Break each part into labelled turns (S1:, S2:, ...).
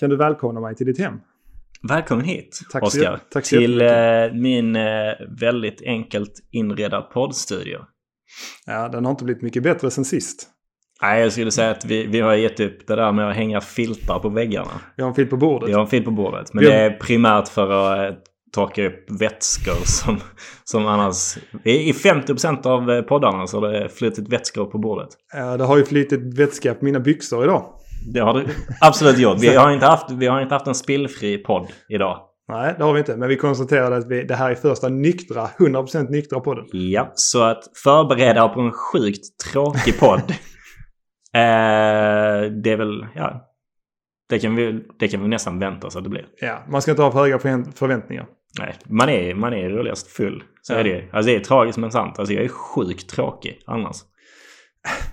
S1: Kan du välkomna mig till ditt hem?
S2: Välkommen hit,
S1: Tack så
S2: Oskar.
S1: jätte- tack så
S2: till eh, min eh, väldigt enkelt inredda poddstudio.
S1: Ja, den har inte blivit mycket bättre sen sist.
S2: Nej, jag skulle säga att vi, vi har gett upp det där med att hänga filtar på väggarna.
S1: Vi har en filt på bordet.
S2: Vi har en filt på bordet, men
S1: Vi
S2: det
S1: har-
S2: är primärt för att eh, torka upp vätskor som, som annars... I i 50% av eh, poddarna så har det flutit vätskor på bordet.
S1: Eh, Det har ju flutit vätska på mina byxor idag.
S2: Det har det absolut gjort. Vi har inte haft, vi har inte haft en spillfri podd idag.
S1: Nej, det har vi inte. Men vi konstaterade att vi, det här är första nyktra, 100% nyktra podden.
S2: Ja, så att förbereda på en sjukt tråkig podd. eh, det är väl, ja. Det kan, vi, det kan vi nästan vänta oss att det blir.
S1: Ja, man ska inte ha för höga förvä- förväntningar.
S2: Nej, man är, man är roligast full. Så
S1: Ja.
S2: är det ju. Alltså det är tragiskt men sant. Alltså jag är sjukt tråkig annars.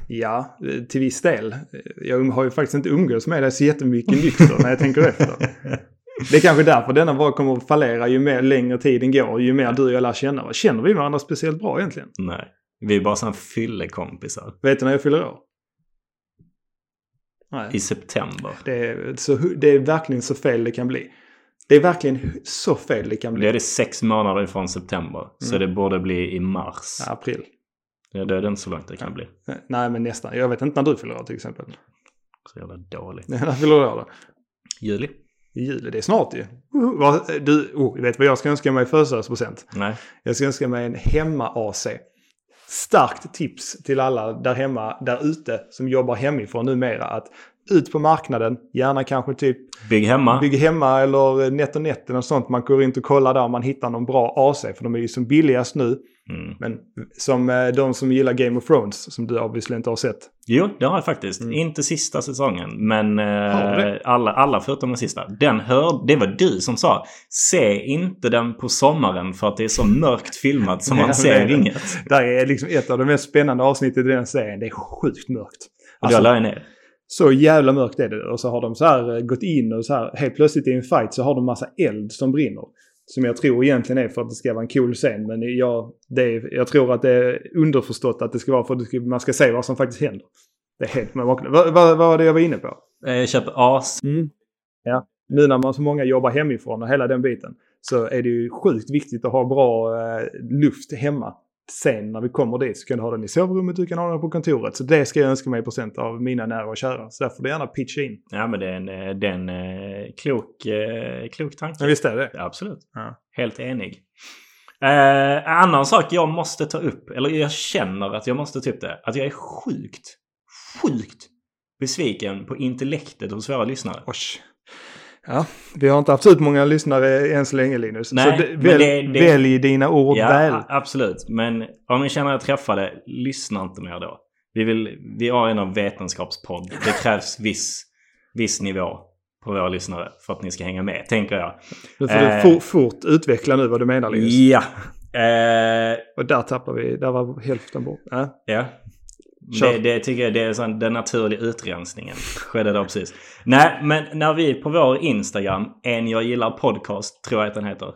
S1: Ja, eh, till viss del. Eh, Jag um- har ju faktiskt inte umgås med dig så jättemycket nykter när jag tänker efter. Det är kanske därför denna var kommer att fallera ju mer längre tiden går, ju mer du och jag lär känna varandra. Känner vi varandra speciellt bra egentligen?
S2: Nej. Vi är bara sådana fyllekompisar.
S1: Vet du när jag fyller år? Nej.
S2: I september.
S1: Det är, så, hu- det är verkligen så fel det kan bli. Det är verkligen hu- så fel det kan
S2: Det är
S1: bli.
S2: det sex månader ifrån september. Så
S1: Mm.
S2: det borde bli i mars.
S1: April.
S2: Ja. Det är det inte så långt det kan bli.
S1: Nej, men nästan. Jag vet inte när du fyller år till exempel.
S2: Så jävla dåligt.
S1: När fyller du år då?
S2: Juli?
S1: I juli. Det är snart ju. Uh, vad- Du, oh, vet vad jag ska önska mig i födelsedagspresent?
S2: Nej.
S1: Jag ska önska mig en hemma-AC. Starkt tips till alla där hemma, där ute, som jobbar hemifrån numera. Att ut på marknaden, gärna kanske typ
S2: Bygg hemma.
S1: Bygg hemma eller eh, NetOnNet eller något sånt. Man går inte och kollar där om man hittar någon bra AC. För de är ju som billigast nu.
S2: Mm.
S1: Men som eh, de som gillar Game of Thrones, som du obviously inte har sett.
S2: Jo, det har jag faktiskt. Inte sista säsongen, men
S1: Mm. Har du
S2: eh, alla, alla förutom den sista. Den hör, det var du som sa se inte den på sommaren för att det är så mörkt filmat som man
S1: Nej,
S2: ser
S1: det är-
S2: inget.
S1: Där är liksom ett av de mest spännande avsnitten i den serien. Det är sjukt mörkt.
S2: Och då
S1: Alltså,
S2: la jag ner.
S1: så jävla mörkt är det. Och så har de så här eh, gått in och så här helt plötsligt i en fight så har de massa eld som brinner. Som jag tror egentligen är för att det ska vara en cool scen. Men jag, det är, jag tror att det är underförstått att det ska vara för att det ska, man ska se vad som faktiskt händer. Det är helt makalöst. Vad, vad, vad var det jag var inne på?
S2: Eh, Köp as.
S1: Mm. Ja, nu när man så många jobbar hemifrån och hela den biten så är det ju sjukt viktigt att ha bra eh, luft hemma. Sen när vi kommer dit så kan du ha den i sovrummet, du kan ha den på kontoret. Så det ska jag önska mig i procent av mina nära och kära. Så där får du gärna pitcha in.
S2: Ja, men det är en, eh, det är en eh, klok, eh, klok tanke.
S1: Men visst är det?
S2: Absolut.
S1: Ja.
S2: Helt enig. Eh, en annan sak jag måste ta upp, eller jag känner att jag måste ta upp det, att jag är sjukt, sjukt besviken på intellektet hos våra lyssnare.
S1: Oj. Ja, vi har inte haft ut många lyssnare än så länge Linus.
S2: Nej,
S1: så d-
S2: men
S1: väl,
S2: det- det-
S1: välj dina ord
S2: ja,
S1: väl.
S2: a- absolut. Men om ni känner er träffade, lyssna inte mer då. Vi, vill, vi har en vetenskapspodd. Det krävs viss, viss nivå på våra lyssnare för att ni ska hänga med, tänker jag.
S1: Nu får du
S2: eh.
S1: for, fort utveckla nu vad du menar Linus.
S2: Ja. Eh,
S1: Och där tappar vi, där var hälften bort. Ja.
S2: Ja.
S1: Kör.
S2: Det, det tycker jag det är sån, den naturliga utrensningen. Skedde då precis. Nej, men när vi på vår Instagram, en jag gillar podcast, tror jag att den heter.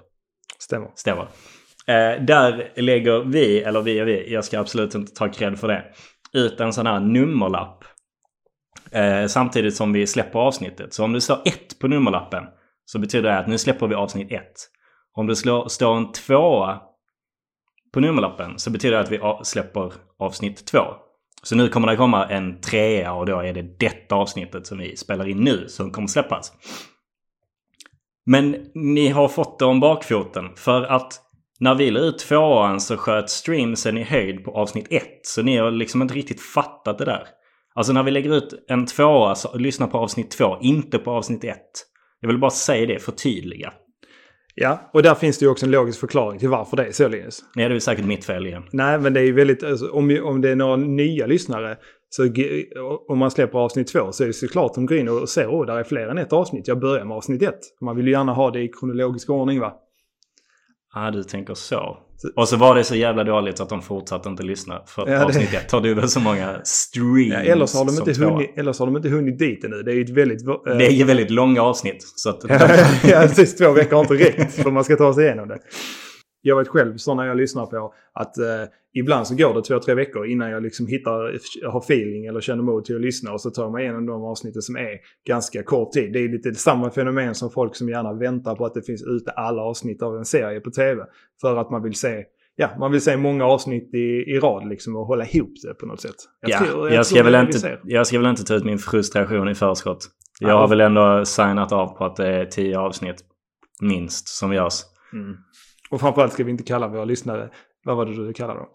S1: Stämmer.
S2: Stämmer. Eh, där lägger vi, eller vi och vi, jag ska absolut inte ta cred för det, ut en sån här nummerlapp. Eh, samtidigt som vi släpper avsnittet. Så om du slår ett på nummerlappen så betyder det att nu släpper vi avsnitt ett. Om du slår, står en tvåa på nummerlappen så betyder det att vi a- släpper avsnitt två. Så nu kommer det komma en trea och då är det detta avsnittet som vi spelar in nu som kommer släppas. Men ni har fått det om bakfoten för att när vi la ut tvåan så sköt streamsen i höjd på avsnitt ett. Så ni har liksom inte riktigt fattat det där. Alltså när vi lägger ut en tvåa så lyssna på avsnitt två, inte på avsnitt ett. Jag vill bara säga det, förtydliga.
S1: Ja, och där finns det ju också en logisk förklaring till varför det är så Linus.
S2: Nej, det är säkert mitt fel igen.
S1: Nej, men det är ju väldigt, alltså, om, om det är några nya lyssnare, så g- om man släpper avsnitt två så är det såklart de går in och ser åh, där är fler än ett avsnitt. Jag börjar med avsnitt ett. Man vill ju gärna ha det i kronologisk ordning va?
S2: Ah, du tänker så. Och så var det så jävla dåligt så att de fortsatte inte lyssna. För att
S1: Ja, det-
S2: avsnitt ett har du väl så många streams
S1: Ja, eller, så har de
S2: som
S1: inte
S2: tvåa.
S1: hunnit, eller så har de inte hunnit dit ännu. Det är ju ett väldigt... eh,
S2: Det är ju väldigt långa avsnitt. Så att
S1: ja, precis. Två veckor har inte räckt för man ska ta sig igenom det. jag vet själv så när jag lyssnar på att eh, ibland så går det två, tre veckor innan jag liksom hittar, har feeling eller känner mod till att lyssna och så tar man igenom de avsnitten som är ganska kort tid. Det är lite samma fenomen som folk som gärna väntar på att det finns ute alla avsnitt av en serie på tv. För att man vill se Ja, man vill se många avsnitt i, i rad liksom och hålla ihop det på något sätt.
S2: ja, jag, ska
S1: det
S2: väl
S1: är det vi
S2: inte,
S1: ser.
S2: jag ska väl inte ta ut min frustration i förskott. Jag
S1: Ja.
S2: har väl ändå signat av på att det är tio avsnitt minst som görs.
S1: Mm. Och framförallt ska vi inte kalla våra lyssnare, vad var det du kallade dem?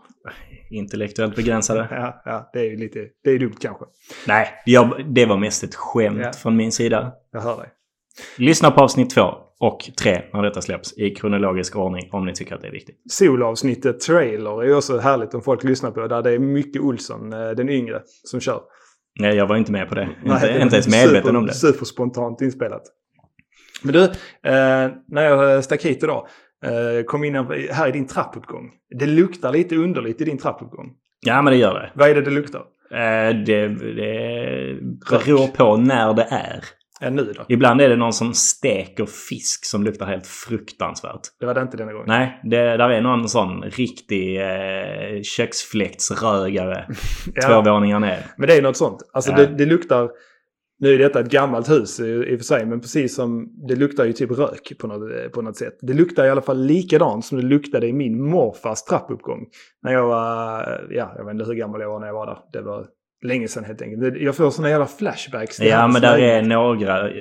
S2: Intellektuellt begränsade.
S1: Ja, ja det är ju lite, det är dumt kanske.
S2: Nej, jag, det var mest ett skämt
S1: Ja.
S2: från min sida.
S1: Jag hör dig.
S2: Lyssna på avsnitt två och tre när detta släpps i kronologisk ordning om ni tycker att det är viktigt.
S1: Solavsnittet Trailer är ju också härligt om folk lyssnar på. Där det är mycket Olsson, eh, den yngre, som kör.
S2: Nej, jag var inte med på det.
S1: Nej,
S2: inte,
S1: det
S2: inte
S1: är
S2: ens medveten
S1: super,
S2: om det.
S1: Superspontant inspelat. Men du, eh, när jag stack hit idag, eh, kom in här i din trappuppgång. Det luktar lite underligt i din trappuppgång.
S2: Ja, men det gör det.
S1: Vad är det det luktar?
S2: Eh, Det, det beror på när det är.
S1: Äh, nu då?
S2: Ibland är det någon som steker fisk som luktar helt fruktansvärt.
S1: Det var det inte denna gången.
S2: Nej, det, där är någon sån riktig eh, köksfläktsrögare två
S1: Ja,
S2: våningar ner.
S1: men det är något sånt. Alltså
S2: Ja.
S1: det, det luktar... Nu är detta ett gammalt hus i, i och för sig, men precis som det luktar ju typ rök på något, på något sätt. Det luktar i alla fall likadant som det luktade i min morfars trappuppgång. När jag var, ja, jag vet inte hur gammal jag var när jag var där. Det var länge sedan helt enkelt. Det- Jag får såna jävla flashbacks. Alltså, till
S2: Ja,
S1: hans
S2: men där är
S1: lägenhet.
S2: några, eh,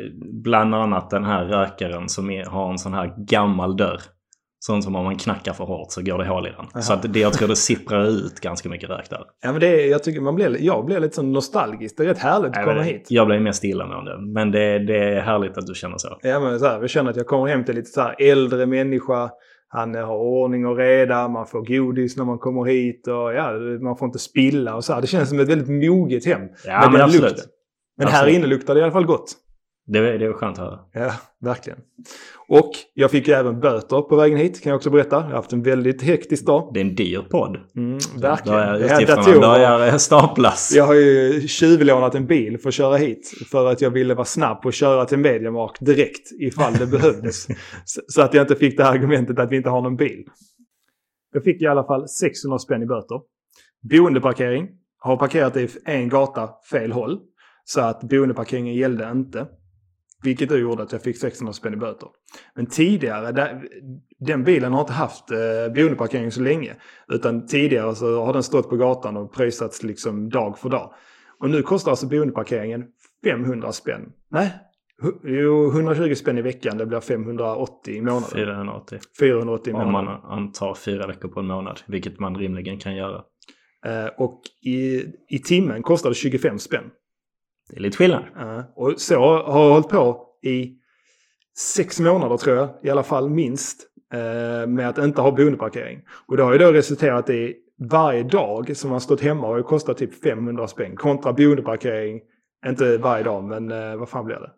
S2: bland annat den här rökaren som är, har en sån här gammal dörr. Sån som om man knackar för hårt så går det hål i den.
S1: Aha.
S2: Så att det, jag tror det sipprar ut ganska mycket rök där.
S1: Ja, men det är, jag tycker man blir, jag blir lite så nostalgisk. Det är rätt härligt att
S2: Nej,
S1: komma
S2: men
S1: hit.
S2: Jag blev mest illamående. Men det, det är härligt att du känner så.
S1: Ja, men så här, jag känner att jag kommer hem till lite så här äldre människa. Han eh, har ordning och reda, man får godis när man kommer hit och ja, man får inte spilla och så här. Det känns som ett väldigt moget hem.
S2: Ja,
S1: Men
S2: men,
S1: den
S2: absolut.
S1: lukten. Men här
S2: Absolut.
S1: inne luktar det i alla fall gott.
S2: Det, det är skönt att höra.
S1: Ja, verkligen. Och jag fick ju även böter på vägen hit, kan jag också berätta. Jag har haft en väldigt hektisk dag.
S2: Det är en dyr podd.
S1: Mm,
S2: Då
S1: verkligen.
S2: är
S1: Det här
S2: utgifterna
S1: datorer-
S2: börjar staplas.
S1: Jag har ju tjuvlånat en bil för att köra hit. För att jag ville vara snabb och köra till Mediamark direkt ifall det behövdes. Så- Så att jag inte fick det här argumentet att vi inte har någon bil. Jag fick i alla fall 600 spänn i böter. Boendeparkering. Har parkerat i en gata fel håll. Så att boendeparkeringen gällde inte. Vilket då gjorde att jag fick 600 spänn i böter. Men tidigare, där, den bilen har inte haft eh, boendeparkering så länge. Utan tidigare så har den stått på gatan och pröjsats liksom dag för dag. Och nu kostar alltså boendeparkeringen 500 spänn. Nej, hu- jo 120 spänn i veckan. Det blir 580 i månaden.
S2: 480.
S1: 480 i
S2: Om
S1: månaden.
S2: man antar fyra veckor på en månad. Vilket man rimligen kan göra.
S1: Eh, och i, i timmen kostar det 25 spänn.
S2: Det är lite skillnad.
S1: Eh, och så har jag hållit på i sex månader tror jag, i alla fall minst, eh, med att inte ha boendeparkering. Och det har ju då resulterat i varje dag som man stått hemma har ju kostat typ 500 spänn kontra boendeparkering. Inte varje dag, men eh, vad fan blir det?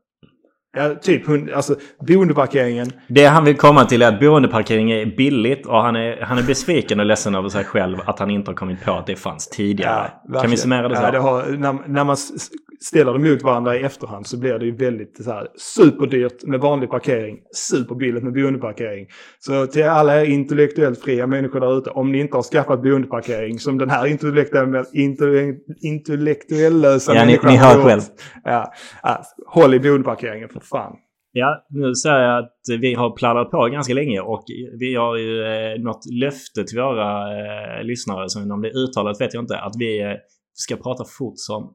S1: Ja, typ, hund- alltså boendeparkeringen.
S2: Det han vill komma till är att boendeparkering är billigt och han är, han är besviken och ledsen över sig själv att han inte har kommit på att det fanns tidigare. kan vi
S1: verkligen.
S2: summera det så?
S1: Ja, det har, när, när man s- s- ställer dem mot varandra i efterhand så blir det ju väldigt så här, superdyrt med vanlig parkering, superbilligt med boendeparkering. Så till alla er intellektuellt fria människor där ute, om ni inte har skaffat boendeparkering som den här intellektuella, intellektuella, intellektuella
S2: Ja, ni, ni hör själv.
S1: Ja, ja, håll i boendeparkeringen för fan.
S2: Ja, nu säger jag att vi har pladdrat på ganska länge och vi har ju eh, något löfte till våra eh, lyssnare, som om det är uttalat vet jag inte, att vi eh, ska prata fort som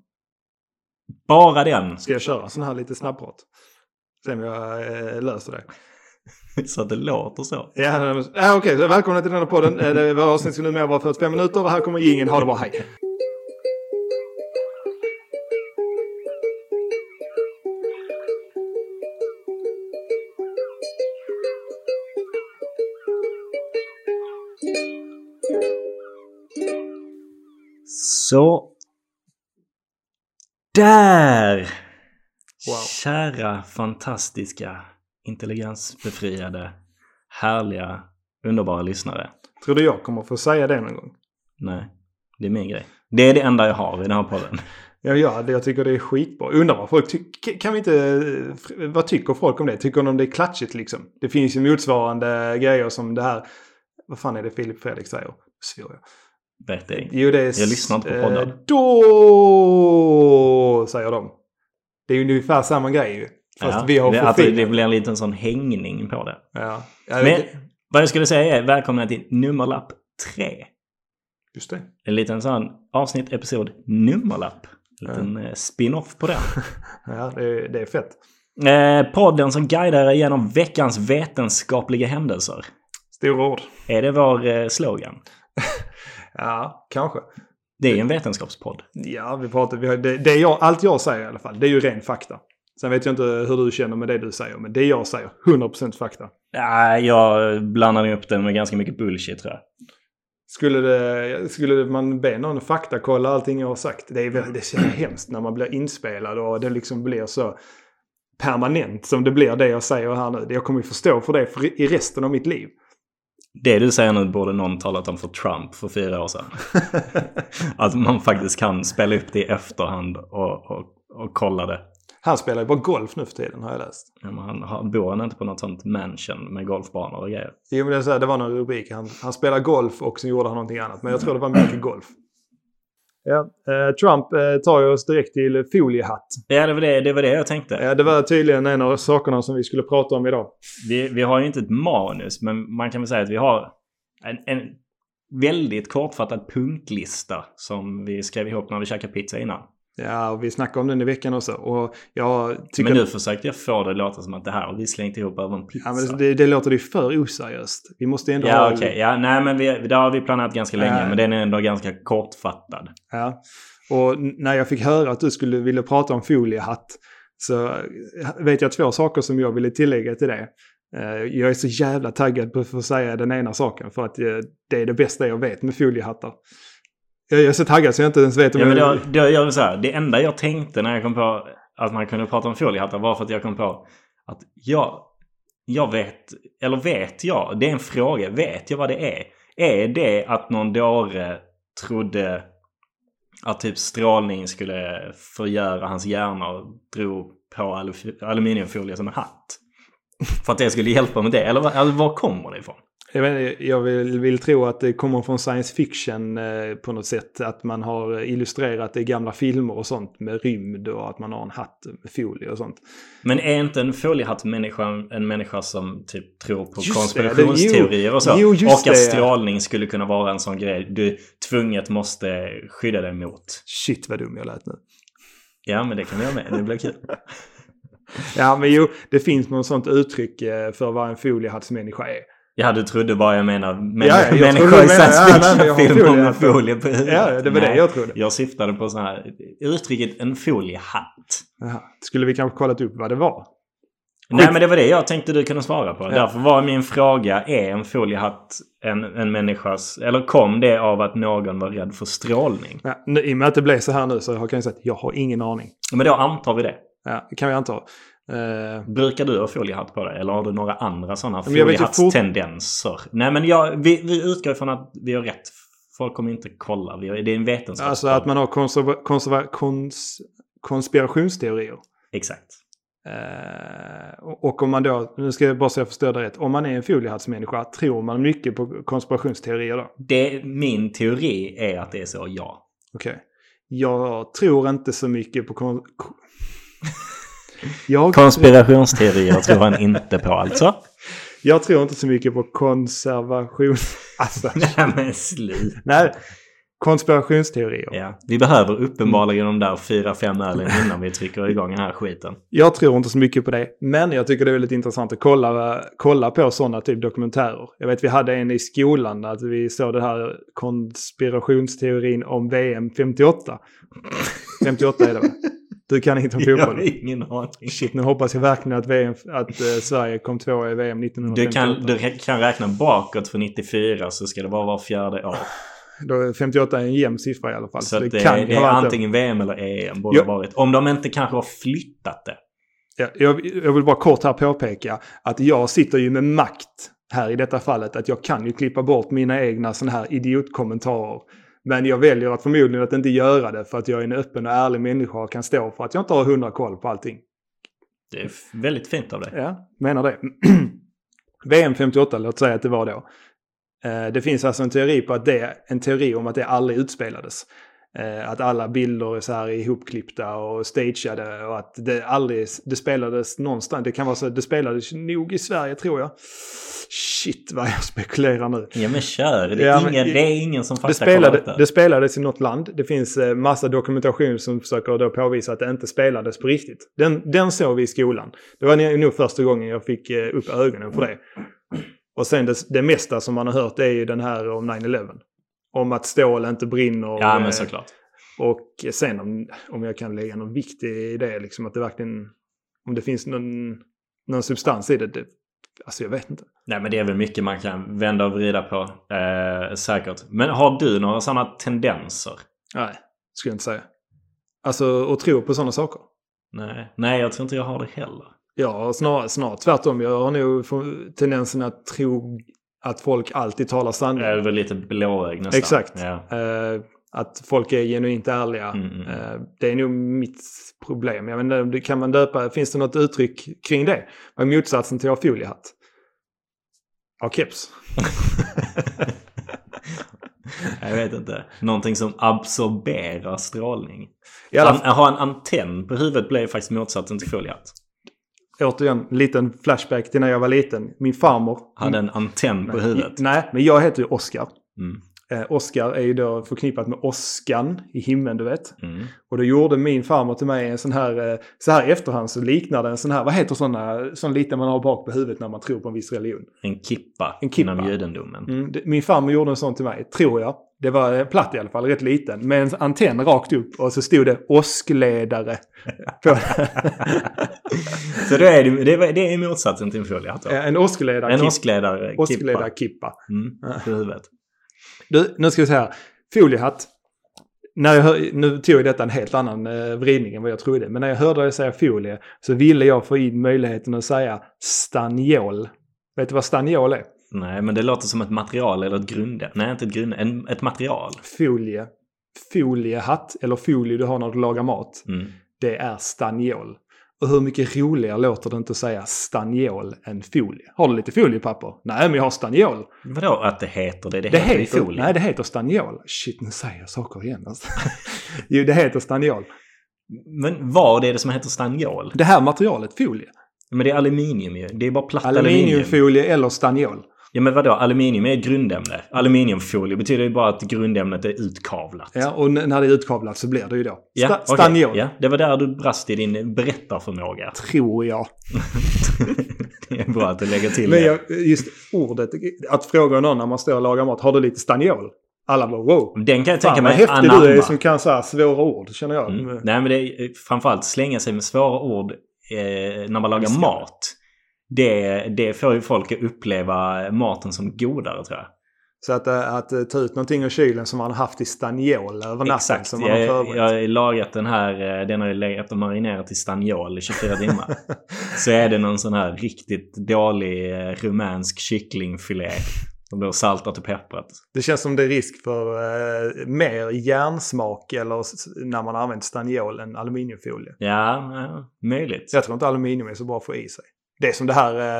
S2: bara den.
S1: Ska jag köra sån här lite snabbprat? Se om jag eh, löser det.
S2: Så att det låter så.
S1: Ja, nej, men- ja okej. Så Välkomna till denna podden. Eh, Det var avsnitt som numera var 45 minuter och här kommer ingen Ha det bra, hej!
S2: Så. Där!
S1: Wow.
S2: Kära, fantastiska, intelligensbefriade, härliga, underbara lyssnare.
S1: Tror du jag kommer få säga det någon gång?
S2: Nej, det är min grej. Det är det enda jag har i den här podden.
S1: Ja, ja det, jag tycker det är skitbra. Undrar vad folk tycker. Kan vi inte... eh, fr- Vad tycker folk om det? Tycker de det är klatschigt liksom? Det finns ju motsvarande grejer som det här. Vad fan är det Filip Fredrik säger? Svor jag.
S2: Vet ej.
S1: Jo, det är...
S2: Jag lyssnar inte på poddar.
S1: eh, Då, säger de. Det är ju ungefär samma grej ju. Fast
S2: Ja,
S1: vi har
S2: det-
S1: för
S2: att det,
S1: fint.
S2: det blir en liten sån hängning på det.
S1: Ja. Ja,
S2: Men
S1: det-
S2: vad jag skulle säga är välkomna till nummerlapp 3.
S1: Just det.
S2: En liten sån avsnitt, episod, nummerlapp. En liten eh, spin-off på den.
S1: Ja, det, är- det är fett.
S2: Eh, podden som guidar er genom veckans vetenskapliga händelser.
S1: Stora ord.
S2: Är det vår eh, slogan?
S1: Ja, kanske.
S2: Det är ju en vetenskapspodd.
S1: Ja, vi pratar, vi har, det, det jag, allt jag säger i alla fall, det är ju ren fakta. Sen vet jag inte hur du känner med det du säger, men det jag säger, 100% fakta.
S2: Nej, jag blandar upp den med ganska mycket bullshit tror jag.
S1: Skulle, det, skulle man be någon faktakolla allting jag har sagt? Det är, väl- det är så jävla hemskt när man blir inspelad och det liksom blir så permanent som det blir det jag säger här nu. Jag kommer ju förstå för det för i resten av mitt liv.
S2: Det du säger nu borde någon talat om för Trump för fyra år sedan. att man faktiskt kan spela upp det i efterhand och, och, och kolla det.
S1: Han spelar ju bara golf nu för tiden har jag läst.
S2: Ja, men Han, han, bor han inte på något sånt mansion med golfbanor och grejer?
S1: Jo, men det, är så här, det var någon rubrik. Han, han spelar golf och sen gjorde han någonting annat. Men jag tror det var mycket golf. Ja, eh, Trump eh, tar ju oss direkt till foliehatt.
S2: Ja, det var det, det, var det jag tänkte.
S1: Eh, det var tydligen en av sakerna som vi skulle prata om idag.
S2: Vi, vi har ju inte ett manus, men man kan väl säga att vi har en, en väldigt kortfattad punktlista som vi skrev ihop när vi käkade pizza innan.
S1: Ja, och vi snackade om den i veckan också. Och jag tycker...
S2: Men nu försökte jag få det att låta som att det här har vi slängt ihop över en pizza.
S1: ja, men det, det låter ju för oseriöst. Vi måste ändå
S2: Ja,
S1: ha...
S2: okej. Ja, nej, men vi, det har vi planerat ganska länge,
S1: Ja.
S2: men den är ändå ganska kortfattad.
S1: Ja. Och n- när jag fick höra att du skulle vilja prata om foliehatt så vet jag två saker som jag ville tillägga till det. Eh, Jag är så jävla taggad på att få säga den ena saken för att eh, det är det bästa jag vet med foliehattar. Jag jag är så taggad så jag inte ens vet om
S2: Ja, men
S1: jag...
S2: då, då gör vi så här. Det enda jag tänkte när jag kom på att man kunde prata om foliehattar var för att jag kom på att jag, jag vet, eller vet jag, det är en fråga, vet jag vad det är? Är det att någon dåre trodde att typ strålning skulle förgöra hans hjärna och drog på alu- aluminiumfolie som en hatt? För att det skulle hjälpa med det? Eller, vad- eller var kommer det ifrån?
S1: Jag, vet, inte, jag vill, vill tro att det kommer från science fiction eh, på något sätt. Att man har illustrerat det i gamla filmer och sånt med rymd och att man har en hatt med folie och sånt.
S2: Men är inte en foliehattmänniska en människa som typ tror på
S1: Just det,
S2: konspirationsteorier
S1: det-
S2: och så?
S1: jo,
S2: och
S1: just
S2: att
S1: det.
S2: strålning skulle kunna vara en sån grej du tvunget måste skydda dig mot.
S1: Shit vad dum jag lät nu.
S2: Ja, men det kan vi göra med. Det blir kul.
S1: Ja, men jo, det finns något sånt uttryck eh, för vad en foliehattsmänniska är.
S2: Ja, du trodde bara jag menar män-
S1: Ja, jag trodde du
S2: människor
S1: menade-
S2: i
S1: ja,
S2: science
S1: nej, men jag har
S2: fiction-filmer
S1: folie här.
S2: med folie på huvudet.
S1: Ja, det var det
S2: Nej,
S1: jag trodde.
S2: Jag syftade på sån här uttrycket en foliehatt.
S1: Jaha. Skulle vi kanske kollat upp vad det var?
S2: Nej, men det var det jag tänkte du kunde svara på. Därför var min fråga, är en foliehatt en, en människas... Eller kom det av att någon var rädd för strålning?
S1: Ja, nu, I och med att det blev så här nu så har- kan jag säga att jag har ingen aning.
S2: Men då antar vi det.
S1: Ja, det kan vi anta. Eh,
S2: Brukar du ha foliehatt på dig? Eller har du några andra sådana
S1: Men jag vet ju
S2: foliehattstendenser? Nej, men jag, vi, vi utgår ifrån att vi har rätt. Folk kommer inte kolla. Vi har, det är en vetenskap.
S1: alltså att man har konserva- konserva- kons- konspirationsteorier.
S2: Exakt.
S1: Eh, och och om man då, nu ska jag bara så jag förstår det rätt, om man är en foliehattsmänniska, tror man mycket på konspirationsteorier då?
S2: Det, min teori är att det är så, ja.
S1: Okej. Jag tror inte så mycket på kon- ko- jag,
S2: Konspirationsteorier tror han inte på alltså.
S1: jag tror inte så mycket på konservation... Alltså,
S2: Nej, men sluta.
S1: nej. Konspirationsteorier.
S2: Ja. Vi behöver uppenbarligen de där fyra, fem ölen innan vi trycker igång den här skiten.
S1: Jag tror inte så mycket på det, men jag tycker det är lite intressant att kolla, kolla på sådana typ dokumentärer. Jag vet vi hade en i skolan, att vi såg den här konspirationsteorin om VM 58. 58 är det va? Du kan inte om
S2: Jag
S1: fotboll.
S2: har ingen aning.
S1: Shit, nu hoppas jag verkligen att, VM, att eh, Sverige kom tvåa i VM
S2: Du
S1: 1958.
S2: kan, du rä- kan räkna bakåt för 94 så ska det vara var fjärde år.
S1: Då är 58 en jämn siffra i alla fall.
S2: Så att det,
S1: kan
S2: det
S1: ha
S2: är
S1: varit det.
S2: antingen VM eller EM borde
S1: Ja.
S2: ha varit. Om de inte kanske har flyttat det.
S1: Ja, jag, jag vill bara kort här påpeka att jag sitter ju med makt här i detta fallet. Att jag kan ju klippa bort mina egna sådana här idiotkommentarer. Men jag väljer att förmodligen att inte göra det för att jag är en öppen och ärlig människa och kan stå för att jag inte har hundra koll på allting.
S2: Det är f- väldigt fint av dig.
S1: Ja, menar det. VM 58, låt säga att det var då. Eh, Det finns alltså en teori på att det, en teori om att det aldrig utspelades. Eh, Att alla bilder är så här ihopklippta och stageade och att det aldrig, det spelades någonstans. Det kan vara så att det spelades nog i Sverige tror jag. Shit vad jag spekulerar nu.
S2: Ja men kör. Det är,
S1: Ja, men-
S2: ingen, det är ingen som
S1: Det,
S2: faktakollar
S1: spelade,
S2: detta.
S1: det spelades i något land. Det finns eh, massa dokumentation som försöker då påvisa att det inte spelades på riktigt. Den, den såg vi i skolan. Det var nog första gången jag fick eh, upp ögonen på det. Och sen det, det mesta som man har hört är ju den här om 9-11. Om att stål inte brinner.
S2: Ja
S1: eh,
S2: men såklart.
S1: och sen om, om jag kan lägga någon vikt i det, liksom att det verkligen... Om det finns någon, någon substans i det, det. Alltså jag vet inte.
S2: Nej men det är väl mycket man kan vända och vrida på. Eh, säkert. Men har du några sådana tendenser?
S1: Nej, skulle jag inte säga. Alltså att tro på sådana saker.
S2: Nej. Nej jag tror inte jag har det heller.
S1: Ja, snarare snar, tvärtom. Jag har nog få- tendensen att tro att folk alltid talar sanning.
S2: Jag är väl lite blåögd nästan.
S1: Exakt.
S2: Ja.
S1: Eh, att folk är genuint ärliga.
S2: Mm, mm.
S1: Eh, det är nog mitt problem. Jag vet inte, om det- kan man döpa, finns det något uttryck kring det? Vad är motsatsen till att ha foliehatt? Ja, keps.
S2: jag vet inte. Någonting som absorberar strålning.
S1: I alla
S2: An- att ha en antenn på huvudet blir ju faktiskt motsatsen till foliehatt.
S1: återigen, liten flashback till när jag var liten. Min farmor.
S2: Hade en antenn på huvudet.
S1: Mm. Nej, men jag heter ju Oskar.
S2: Mm.
S1: Eh, Oskar är ju då förknippat med åskan i himlen, du vet.
S2: Mm.
S1: Och då gjorde min farmor till mig en sån här, eh, så här i efterhand så liknar den en sån här, vad heter såna, sån liten man har bak på huvudet när man tror på en viss religion.
S2: En kippa,
S1: En kippa.
S2: inom judendomen.
S1: Mm, det, min farmor gjorde en sån till mig, tror jag. Det var eh, platt i alla fall, rätt liten. Med en antenn rakt upp och så stod det åskledare. På,
S2: Så det är, det- det, är- det är motsatsen till en foliehatt. då.
S1: en åskledare.
S2: En
S1: kippa.
S2: åskledare, kippa
S1: Åskledarkippa.
S2: mm, på huvudet.
S1: Du, nu ska vi se här. Foliehatt. När jag hör, nu tog jag detta en helt annan eh, vridning än vad jag trodde. Men när jag hörde dig säga folie så ville jag få in möjligheten att säga stanniol. Vet du vad stanniol är?
S2: Nej, men det låter som ett material eller ett grundämne. Nej, inte ett grundämne. En, ett material.
S1: Folie. Foliehatt, eller folie du har när du lagar mat,
S2: Mm.
S1: det är stanniol. Och hur mycket roligare låter det inte att säga stanniol än folie? Har du lite foliepapper? Nej, men jag har stanniol.
S2: Vadå att det heter det? Det,
S1: Det
S2: heter,
S1: heter,
S2: ju folie.
S1: nej, det heter stanniol. Shit, nu säger jag saker igen alltså. jo, det heter stanniol.
S2: Men vad är det som heter staniol?
S1: Det här materialet, folie.
S2: Men det är aluminium ju. Det är bara platt aluminium.
S1: Aluminiumfolie eller staniol.
S2: Ja, men vadå? Aluminium är ett grundämne. Aluminiumfolie betyder ju bara att grundämnet är utkavlat.
S1: Ja, och n- när det är utkavlat så blir det ju då
S2: Ja,
S1: sta-
S2: okej.
S1: staniol.
S2: Ja, det var där du brast i din berättarförmåga.
S1: Tror jag.
S2: det är bra att du lägger till
S1: Men
S2: det.
S1: jag, just ordet, att fråga någon när man står och lagar mat, har du lite staniol? Alla bara wow.
S2: Den kan jag tänka
S1: Mm. Fan vad
S2: mig
S1: häftig
S2: anamma.
S1: du är som kan så här svåra ord, känner jag.
S2: Mm. Nej, men det är framförallt slänga sig med svåra ord eh, när man lagar
S1: Viska.
S2: mat. Det, det får ju folk att uppleva maten som godare tror jag.
S1: Så att, eh, att eh, ta ut någonting ur kylen som man har haft i staniol över natten
S2: Exakt.
S1: som man har
S2: Jag,
S1: förberett.
S2: jag har lagat den här, eh, den har jag legat och marinerat i staniol i 24 timmar. Så är det någon sån här riktigt dålig eh, rumänsk kycklingfilé. Som då saltat och pepprat.
S1: Det känns som det är risk för eh, mer järnsmak eller s- när man har använt staniol än aluminiumfolie.
S2: Ja, ja, möjligt.
S1: Så jag tror inte aluminium är så bra att få i sig. Det är som det här, eh,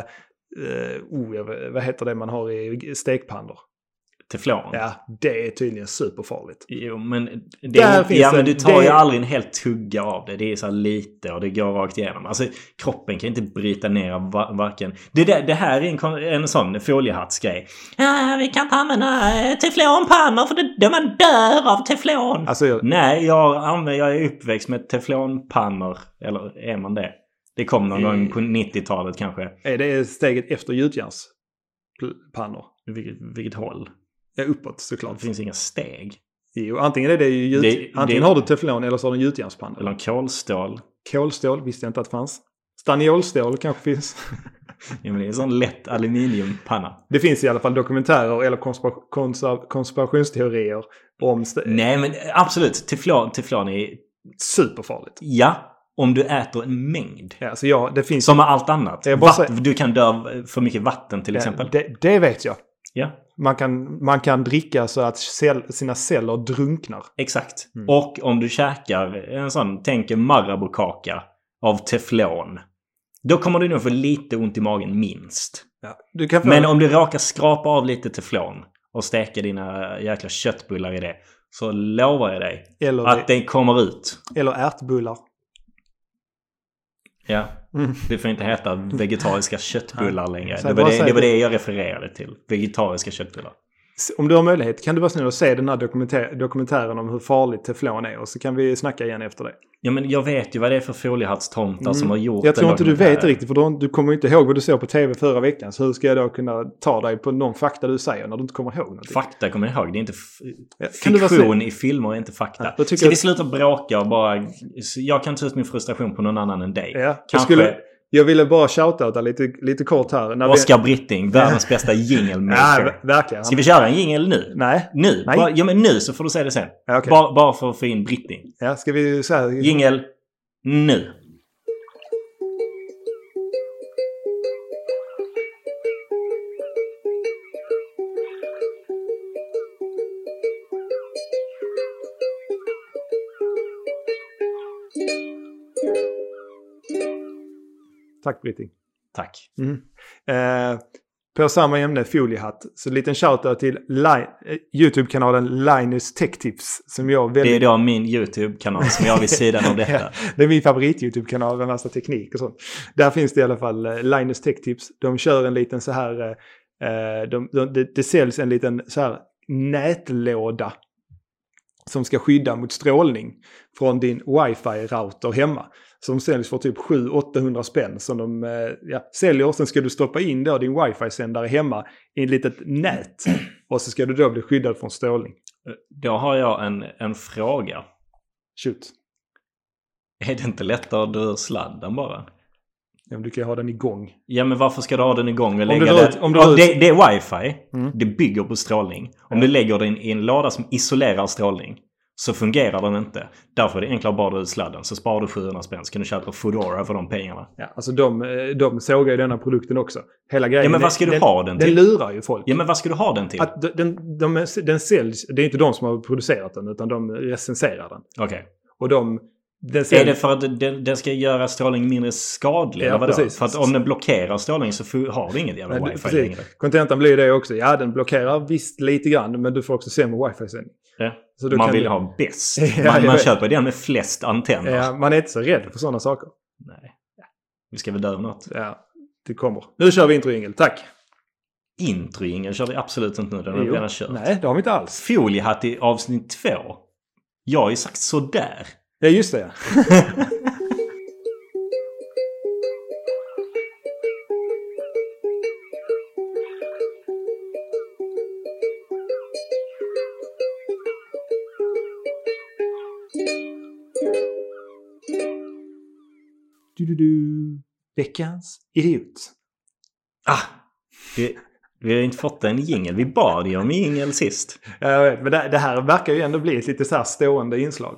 S1: eh, oh, jag vet- vad heter det man har i stekpannor?
S2: Teflon.
S1: Ja, det är tydligen superfarligt.
S2: Jo, men, det
S1: Där
S2: är,
S1: finns
S2: ja,
S1: det-
S2: men du tar ju
S1: det-
S2: aldrig en hel tugga av det. Det är så här lite och det går rakt igenom. Alltså, kroppen kan inte bryta ner av va- varken... Det, där, det här är en, kon- en sån foliehattsgrej. Ja, vi kan inte använda eh, teflonpannor för det, det man dör av teflon.
S1: Alltså, jag,
S2: Nej, jag, använder, jag är uppväxt med teflonpannor. Eller är man det? Det kom någon
S1: Eh.
S2: gång på 90-talet kanske.
S1: är det steget efter gjutjärnspannor?
S2: Vilket, vilket håll?
S1: Ja, uppåt
S2: Det
S1: såklart.
S2: finns inga steg.
S1: Jo, antingen är det ju gjut,
S2: Det-
S1: antingen
S2: det-
S1: har du teflon eller så har du en gjutjärnspanna.
S2: Eller kolstål.
S1: Kolstål visste jag inte att det fanns. Staniolstål kanske finns.
S2: Ja, men det är en sån lätt aluminiumpanna.
S1: Det finns i alla fall dokumentärer eller konspira- konsa- konspirationsteorier om st-
S2: Nej men absolut, teflon, teflon är...
S1: superfarligt.
S2: Ja, om du äter en mängd.
S1: Ja, så ja, det finns
S2: Som med allt annat.
S1: Jag bara
S2: Vatt-
S1: säger-
S2: du kan dö av eh, för mycket vatten till exempel.
S1: det, det vet jag.
S2: Ja,
S1: Man kan, man kan dricka så att cell, sina celler drunknar.
S2: exakt.
S1: Mm.
S2: Och om du käkar en sån, tänk en Marabou-kaka av teflon. Då kommer du nog få lite ont i magen minst.
S1: Du kan få,
S2: Men om du råkar skrapa av lite teflon och steka dina jäkla köttbullar i det. Så lovar jag dig
S1: Eller,
S2: att den kommer ut.
S1: eller ärtbullar.
S2: Ja.
S1: Mm.
S2: Det får inte heta vegetariska köttbullar längre.
S1: Så
S2: Det
S1: bara
S2: var det,
S1: säg
S2: det var
S1: det.
S2: det jag refererade till. Vegetariska köttbullar.
S1: S- Om du har möjlighet, kan du vara snäll och se den här dokumentär, dokumentären om hur farligt teflon är och så kan vi snacka igen efter det.
S2: Ja men jag vet ju vad det är för foliehattstomtar som har gjort
S1: Mm. Jag tror
S2: den
S1: inte du
S2: dokumentären.
S1: vet riktigt för du, har- du kommer ju inte ihåg vad du såg på tv förra veckan. Så hur ska jag då kunna ta dig på någon fakta du säger när du inte kommer ihåg någonting?
S2: Fakta kommer jag ihåg. Det är inte f-
S1: Ja, kan du vara
S2: fiktion i filmer är inte fakta.
S1: Ja, då tycker
S2: Ska
S1: jag-
S2: vi sluta bråka och bara... så Jag kan ta ut min frustration på någon annan än dig.
S1: Ja, jag,
S2: Kanske-
S1: skulle, jag ville bara shoutouta lite, lite kort här. När vi-
S2: Oscar Britting, världens bästa jinglemaker.
S1: Ja, ver- verkligen.
S2: Ska vi köra en jingel nu?
S1: Nej,
S2: Nu?
S1: Nej.
S2: Bara, ja, men nu så får du säga det sen.
S1: ja, okej. Mm.
S2: Bara, bara för att få in Britting.
S1: Ja, ska vi så här...
S2: Jingel nu.
S1: Tack Britting.
S2: Tack.
S1: Mm. Eh, på samma ämne, foliehatt. Så en liten shoutout till Li- eh, YouTube-kanalen Linus Tech Tips. Som jag väldigt...
S2: Det är då min YouTube-kanal som jag har vid sidan av detta.
S1: Ja, det är min favorit-YouTube-kanal med massa teknik och sånt. Där finns det i alla fall eh, Linus Tech Tips. De kör en liten så här... eh, eh, De, de, det, det säljs en liten så här nätlåda som ska skydda mot strålning från din wifi-router hemma. Som säljs för typ 700-800 spänn som de eh, ja, säljer. Sen ska du stoppa in då din wifi-sändare hemma i ett litet nät. Och så ska du då bli skyddad från strålning.
S2: Då har jag en, en fråga.
S1: Shoot.
S2: Är det inte lättare att dra ur sladden bara?
S1: Ja, men du kan ju ha den igång.
S2: Ja men varför ska du ha den igång och
S1: du
S2: lägga
S1: drar
S2: den?
S1: ut- om du
S2: Ja,
S1: drar ut-
S2: det, det är wifi.
S1: Mm.
S2: Det bygger på strålning. Om du lägger den i en låda som isolerar strålning så fungerar den inte. Därför är det enklare att bara dra ut sladden. Så sparar du 700 spänn. Så kan du köpa Foodora för de pengarna.
S1: Ja, alltså de, eh, de sågar ju denna produkten också. Hela grejen.
S2: Ja, men vad ska du
S1: den,
S2: ha den
S1: Den
S2: till?
S1: lurar ju folk.
S2: Ja men vad ska du ha den till?
S1: Att d- den, de, är- den säljs, det är inte de som har producerat den utan de recenserar den.
S2: Okej.
S1: Och de... Den
S2: Är
S1: säljs,
S2: det för att den, den ska göra strålning mindre skadlig?
S1: Ja,
S2: eller vadå?
S1: precis.
S2: För att om den blockerar strålning så får- har du inget jävla
S1: Nej, det-
S2: wifi
S1: precis.
S2: längre.
S1: Kontentan blir ju det också. Ja, den blockerar visst lite grann men du får också sämre wifi-sändning.
S2: Ja.
S1: Så då
S2: man
S1: kan
S2: vill
S1: du-
S2: ha bäst.
S1: Ja, jag
S2: man man
S1: vet.
S2: köper den med flest antenner.
S1: Ja, man är inte så rädd för sådana saker.
S2: Nej. Vi ska väl dö av något.
S1: Ja, det kommer. Nu kör vi introjingel. Tack!
S2: Introjingeln kör vi absolut inte nu. Den har vi
S1: Jo.
S2: redan kört.
S1: Nej, det har vi inte alls.
S2: Foliehatt i avsnitt två. Jag har ju sagt sådär.
S1: Ja, just det. ja. Du-du-du. Veckans idiot.
S2: Ah! Vi, vi har inte fått en jingel. Vi bad ju om jingel sist.
S1: Ja, Jag vet, men det, det här verkar ju ändå bli ett lite så här stående inslag.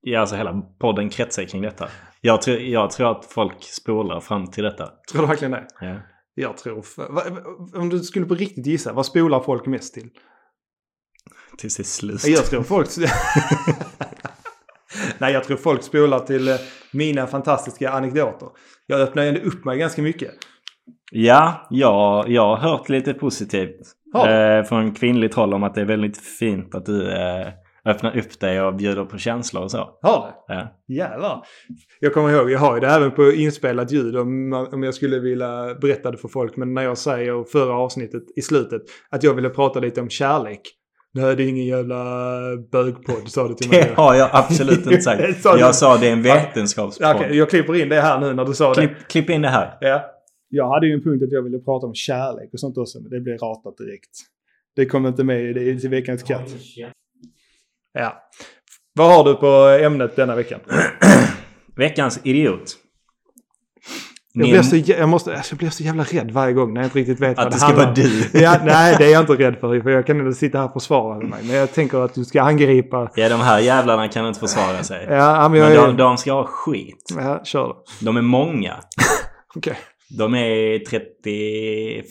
S2: Ja, alltså hela podden kretsar kring detta. Jag tror, jag tror att folk spolar fram till detta.
S1: Tror du verkligen det?
S2: Ja.
S1: Jag tror... f- va- Om du skulle på riktigt gissa, vad spolar folk mest till?
S2: Tills det är slut.
S1: Jag tror folk... Nej, jag tror folk spolar till eh, mina fantastiska anekdoter. Jag öppnar ju ändå upp mig ganska mycket.
S2: Ja, ja, jag har hört lite positivt
S1: Har
S2: eh, från en kvinnlig troll om att det är väldigt fint att du eh, öppnar upp dig och bjuder på känslor och så.
S1: Har det?
S2: Ja.
S1: Jävlar. Jag kommer ihåg, jag har ju det även på inspelat ljud om, man- om jag skulle vilja berätta det för folk. Men när jag säger förra avsnittet i slutet att jag ville prata lite om kärlek. Nej, det är ingen jävla bögpodd sa du till mig.
S2: Det har jag absolut inte sagt.
S1: Sa du-
S2: Jag sa det är en vetenskapspodd.
S1: Okej, jag klipper in det här nu när du sa det.
S2: Klipp, klipp in det här.
S1: Ja. Jag hade ju en punkt att jag ville prata om kärlek och sånt också, men det blev ratat direkt. Det kom inte med i- i till veckans katt. Ja. Vad har du på ämnet denna veckan?
S2: Veckans idiot.
S1: Jag
S2: Min-
S1: blir, så, jä- jag, måste, alltså, jag blir så jävla rädd varje gång när jag inte riktigt vet vad
S2: Att
S1: det
S2: det ska
S1: handlar
S2: vara
S1: om.
S2: du.
S1: Ja, nej, det är jag inte rädd för. för Jag kan inte sitta här och försvara mig. Men jag tänker att du ska angripa...
S2: Ja, de här jävlarna kan inte försvara sig.
S1: Ja, men jag
S2: Men de,
S1: är...
S2: de ska ha skit.
S1: Ja, kör då.
S2: De är många.
S1: Okej.
S2: De är i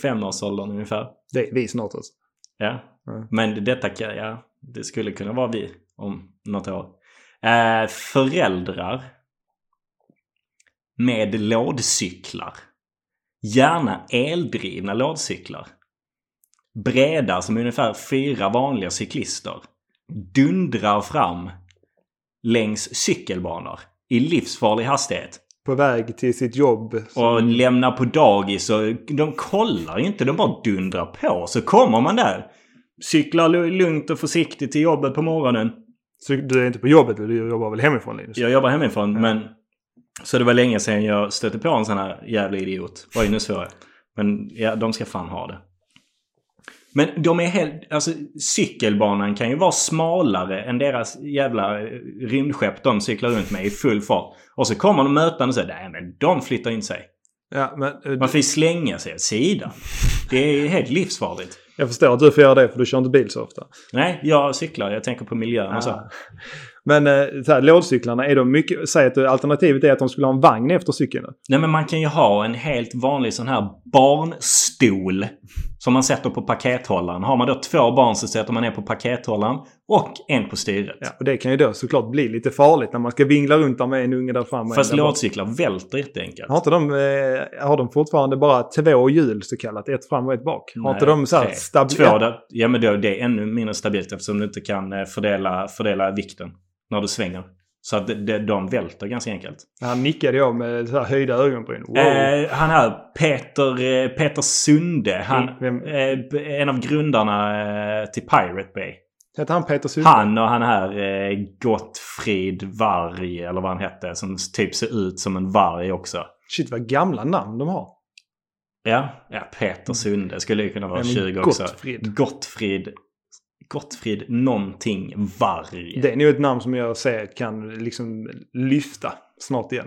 S2: 35-årsåldern ungefär.
S1: Det är vi snart alltså.
S2: Ja.
S1: Mm.
S2: Men detta kan, ja, det skulle kunna vara vi om något år. Eh, föräldrar med lådcyklar. Gärna eldrivna lådcyklar. breda som ungefär fyra vanliga cyklister dundrar fram längs cykelbanor i livsfarlig hastighet.
S1: På väg till sitt jobb.
S2: Och lämnar på dagis och de kollar ju inte, de bara dundrar på. Så kommer man där. Cyklar lu- lugnt och försiktigt till jobbet på morgonen.
S1: Så du är inte på jobbet, du jobbar väl hemifrån Linus?
S2: Jag jobbar hemifrån men... Så det var länge sedan jag stötte på en sån här jävla idiot. Oj, nu svor jag. Men ja, de ska fan ha det. Men de är helt... Alltså cykelbanan kan ju vara smalare än deras jävla eh, rymdskepp de cyklar runt med i full fart. Och så kommer de mötande och säger nej men de flyttar in sig.
S1: Ja, men, eh,
S2: Man får ju slänga sig åt sidan. Det är helt livsfarligt.
S1: jag förstår att du får göra det för du kör inte bil så ofta.
S2: Nej, jag cyklar. Jag tänker på miljön och så.
S1: Ah. Men eh, så här, lådcyklarna, är de mycket... Säg att alternativet är att de skulle ha en vagn efter cykeln. då.
S2: Nej men man kan ju ha en helt vanlig sån här barnstol. Som man sätter på pakethållaren. Har man då två barn så sätter man en på pakethållaren och en på styret.
S1: Ja, och det kan ju då såklart bli lite farligt när man ska vingla runt där med en unge där framme. och en
S2: Fast
S1: där bak.
S2: lådcyklar välter jätteenkelt.
S1: Har inte de, eh, har de fortfarande bara två hjul så kallat? Ett fram och ett bak? har
S2: Nej,
S1: inte de så här
S2: tre.
S1: stabil...
S2: Två där, ja men då, det är ännu mindre stabilt eftersom du inte kan eh, fördela, fördela vikten när du svänger. Så att de, de, de välter ganska enkelt.
S1: Han nickade jag med så här höjda ögonbryn. Wow.
S2: Eh, han här, Peter, eh, Peter Sunde. Han,
S1: Vem-
S2: eh, b- en av grundarna eh, till Pirate Bay.
S1: Hette han Peter Sundberg?
S2: Han och han här eh, Gottfrid Varg eller vad han hette som typ ser ut som en varg också.
S1: Shit vad gamla namn de har.
S2: Ja, ja Peter Sunde skulle ju kunna vara
S1: Men
S2: 20 också.
S1: Gottfrid.
S2: Gottfrid. Gottfrid någonting Varg.
S1: Det är nog ett namn som jag ser kan liksom lyfta snart igen.